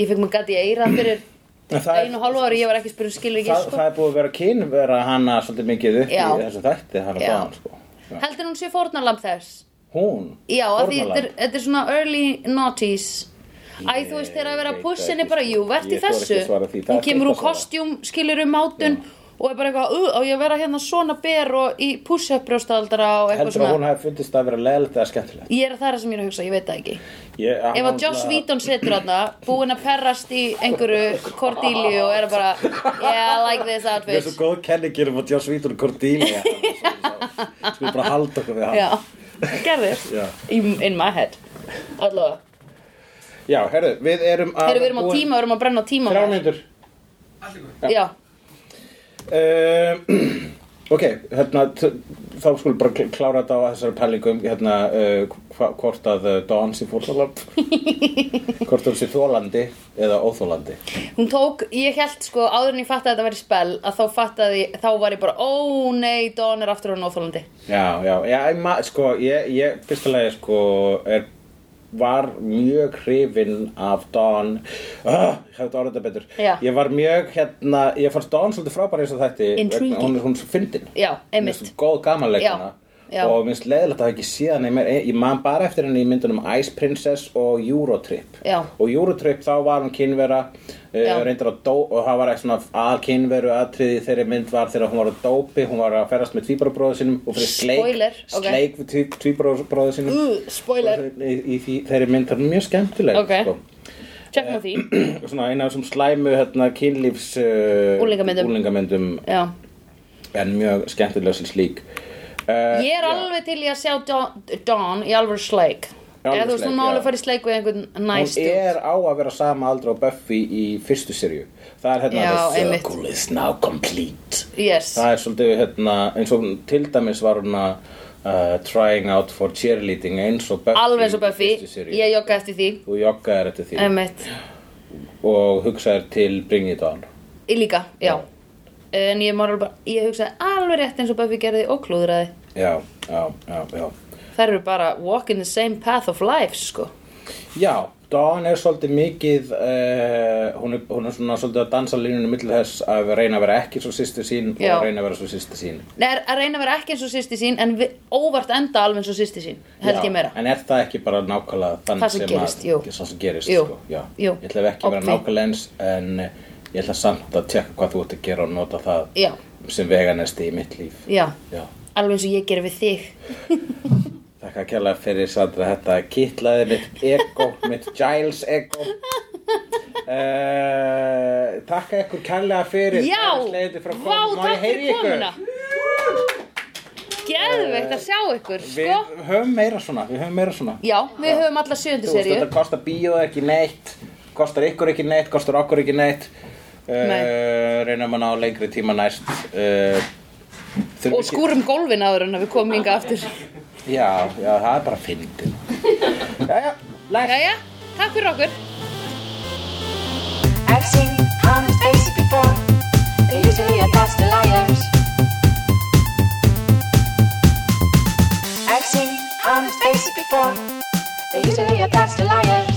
Speaker 1: ég fekk mér gati eira fyrir
Speaker 3: En það er-
Speaker 1: einu og hálfu ári, ég var ekki spurning skilur ekki
Speaker 3: Það,
Speaker 1: sko.
Speaker 3: það er búið að vera kynvera hana svolítið mikið upp
Speaker 1: Já.
Speaker 3: í þessu þætti hana
Speaker 1: Já.
Speaker 3: báðan sko. Já.
Speaker 1: heldur hún sé fórnalamb þess
Speaker 3: Hún,
Speaker 1: já, af því þetta
Speaker 3: fórnarlamb.
Speaker 1: er, þetta er svona early noughties Æ, þú veist, þegar að vera
Speaker 3: Ég
Speaker 1: að
Speaker 3: veit
Speaker 1: pusha
Speaker 3: það
Speaker 1: henni
Speaker 3: ekki,
Speaker 1: bara,
Speaker 3: sko.
Speaker 1: jú, verð í
Speaker 3: Ég þori ekki
Speaker 1: þessu
Speaker 3: að svara því. Það
Speaker 1: Hún
Speaker 3: er
Speaker 1: kemur úr
Speaker 3: eitthvað svona.
Speaker 1: kostjúm, skilur um mátun og er bara eitthvað, uh, á ég að vera hérna svona ber og í push-up brjóstaldara og eitthvað
Speaker 3: heldur að hún
Speaker 1: svona
Speaker 3: hafi fundist að vera leðilegt eða skemmtilegt
Speaker 1: Ég er það er það sem ég er að hugsa, ég veit það ekki
Speaker 3: Ég-
Speaker 1: Ef
Speaker 3: hún-
Speaker 1: að Joss Whedon setur þarna, búinn að perrast í einhverju Cordelia og er bara Yeah, I like this
Speaker 3: Við erum
Speaker 1: outfit
Speaker 3: svo góð kenningir um að Joss Vítur og Cordelia hérna, Skulum bara halda okkur við hann
Speaker 1: Já, gerðist
Speaker 3: Já.
Speaker 1: in, in my head Allavega
Speaker 3: Já, herru, við erum að
Speaker 1: Þegar við erum á
Speaker 3: búin-
Speaker 1: tíma, við erum að brenna á tíma
Speaker 3: Þrjár mínútur
Speaker 1: Já,
Speaker 3: uh, Ok, hérna t- þá skulum bara kl- klára þetta á þessari pælingum hérna, uh, hva- hvort að uh, Dawn sé fórnalamb hvort hún sé þólandi eða óþólandi
Speaker 1: Hún tók, ég held sko, áður en ég fattaði að þetta væri spell að þá fattaði, þá var ég bara ó nei, Don er aftur á nóþólandi
Speaker 3: Já, já, já, ég ma, sko, ég, ég fyrstulega, sko, er, var mjög hrifinn af Dawn, uh, ég hefði orðið þetta betur,
Speaker 1: Já.
Speaker 3: ég var mjög, hérna, ég fannst Dawn svolítið frábæri eins og þætti,
Speaker 1: Intriguing.
Speaker 3: vegna- hún er hún er svo fyndin,
Speaker 1: Já,
Speaker 3: Mér finnst
Speaker 1: einmitt
Speaker 3: hún góð gamanleikana
Speaker 1: Já, já.
Speaker 3: og minnst leðilegt að hafa ekki síðan ég, ég man bara eftir henni í myndunum Ice Princess og Eurotrip
Speaker 1: Já.
Speaker 3: og Eurotrip þá var hún kynvera uh,
Speaker 1: Já.
Speaker 3: reyndar að dó og það var eitthvað svona aðal kynveru atriði þeirri mynd var þegar hún var að dópi hún var að ferast með tvíbarabróðu sínum og fyrir sleik,
Speaker 1: Spoiler, ok.
Speaker 3: sleik við tví- tvíbarabróðu sínum
Speaker 1: Ú, spoiler,
Speaker 3: í, í því, þeirri mynd það er mjög skemmtileg
Speaker 1: Ok.
Speaker 3: sko.
Speaker 1: tjekkum á því
Speaker 3: svona eina af þessum slæmu hérna, kynlífs uh,
Speaker 1: Unglingamyndum.
Speaker 3: úlingamyndum
Speaker 1: Já,
Speaker 3: en mjög skemmtileg sem slík uh,
Speaker 1: ég er alveg til ég að sjá Don, Don í alveg sleik
Speaker 3: Í alvöru
Speaker 1: Eða þú veist, hún
Speaker 3: sleik,
Speaker 1: má
Speaker 3: já.
Speaker 1: alveg fara í sleik við einhvern
Speaker 3: hún
Speaker 1: næst
Speaker 3: er á að vera sama aldra og Buffy í fyrstu sirju það er hérna
Speaker 1: Já,
Speaker 3: the
Speaker 1: einmitt.
Speaker 3: circle is now complete
Speaker 1: Yes,
Speaker 3: það er svolítið hérna eins og hún- til dæmis var hún að uh, trying out for cheerleading eins og Buffy
Speaker 1: alveg eins og
Speaker 3: í
Speaker 1: Buffy
Speaker 3: fyrstu seríu.
Speaker 1: Ég jogga eftir því
Speaker 3: þú joggaðir þetta því
Speaker 1: Einmitt,
Speaker 3: og hugsaðir til Bring It On
Speaker 1: ég líka, já En ég, man alveg bara, ég hugsaði alveg rétt eins og Buffy gerði og klúðraði
Speaker 3: já, já, já, já
Speaker 1: Þær eru bara walking the same path of life, sko.
Speaker 3: já, Dawn er svolítið mikið uh, hún, er, hún er svona svolítið að dansa línunum millir þess að reyna að vera ekki svo sýstu sín
Speaker 1: Já.
Speaker 3: og reyna að vera svo sýstu sín
Speaker 1: Nei, er að reyna að vera ekki eins og sýsti sín, en vi- óvart enda alveg eins og sýsti sín, held
Speaker 3: Já,
Speaker 1: ég meira.
Speaker 3: En er það ekki bara nákvæmlega þann
Speaker 1: Það sem gerist, jú.
Speaker 3: Það sem gerist,
Speaker 1: Jú,
Speaker 3: sko já.
Speaker 1: jú.
Speaker 3: Ég ætla ekki að vera
Speaker 1: Obvi.
Speaker 3: nákvæmlega eins En eh, ég ætla samt að tekka hvað þú ert að gera og nota það
Speaker 1: Já.
Speaker 3: sem veganesti í mitt líf
Speaker 1: Já,
Speaker 3: Já.
Speaker 1: alveg eins og ég gerir við þig.
Speaker 3: Þakka kjærlega fyrir Sandra þetta kittlaði mitt ego, mitt Giles ego uh, Takka ykkur kjærlega fyrir
Speaker 1: Já,
Speaker 3: Kæru slegjendur frá
Speaker 1: vá,
Speaker 3: Kópavogi. Má ég
Speaker 1: takk
Speaker 3: heyri
Speaker 1: fyrir
Speaker 3: ykkur?
Speaker 1: komuna. Geðveikt að sjá ykkur,
Speaker 3: Við
Speaker 1: sko.
Speaker 3: höfum meira svona, við höfum meira svona
Speaker 1: Já, við höfum alla sjöundu
Speaker 3: Þú veist,
Speaker 1: serju.
Speaker 3: þetta kostar bíó ekki neitt, kostar ykkur ekki neitt, kostar okkur ekki neitt. Uh,
Speaker 1: Nei.
Speaker 3: reynum að ná lengri tíma næst. Uh, þurfum
Speaker 1: Og sko- skúrum gólfin áður en að við komum yngi aftur.
Speaker 3: Já, já, það er bara fyndin. Jæja, læst.
Speaker 1: Jæja, takk fyrir okkur.
Speaker 2: I've seen honest faces before. They're usually a pass of liars. I've seen honest faces before. They're usually a pass of liars.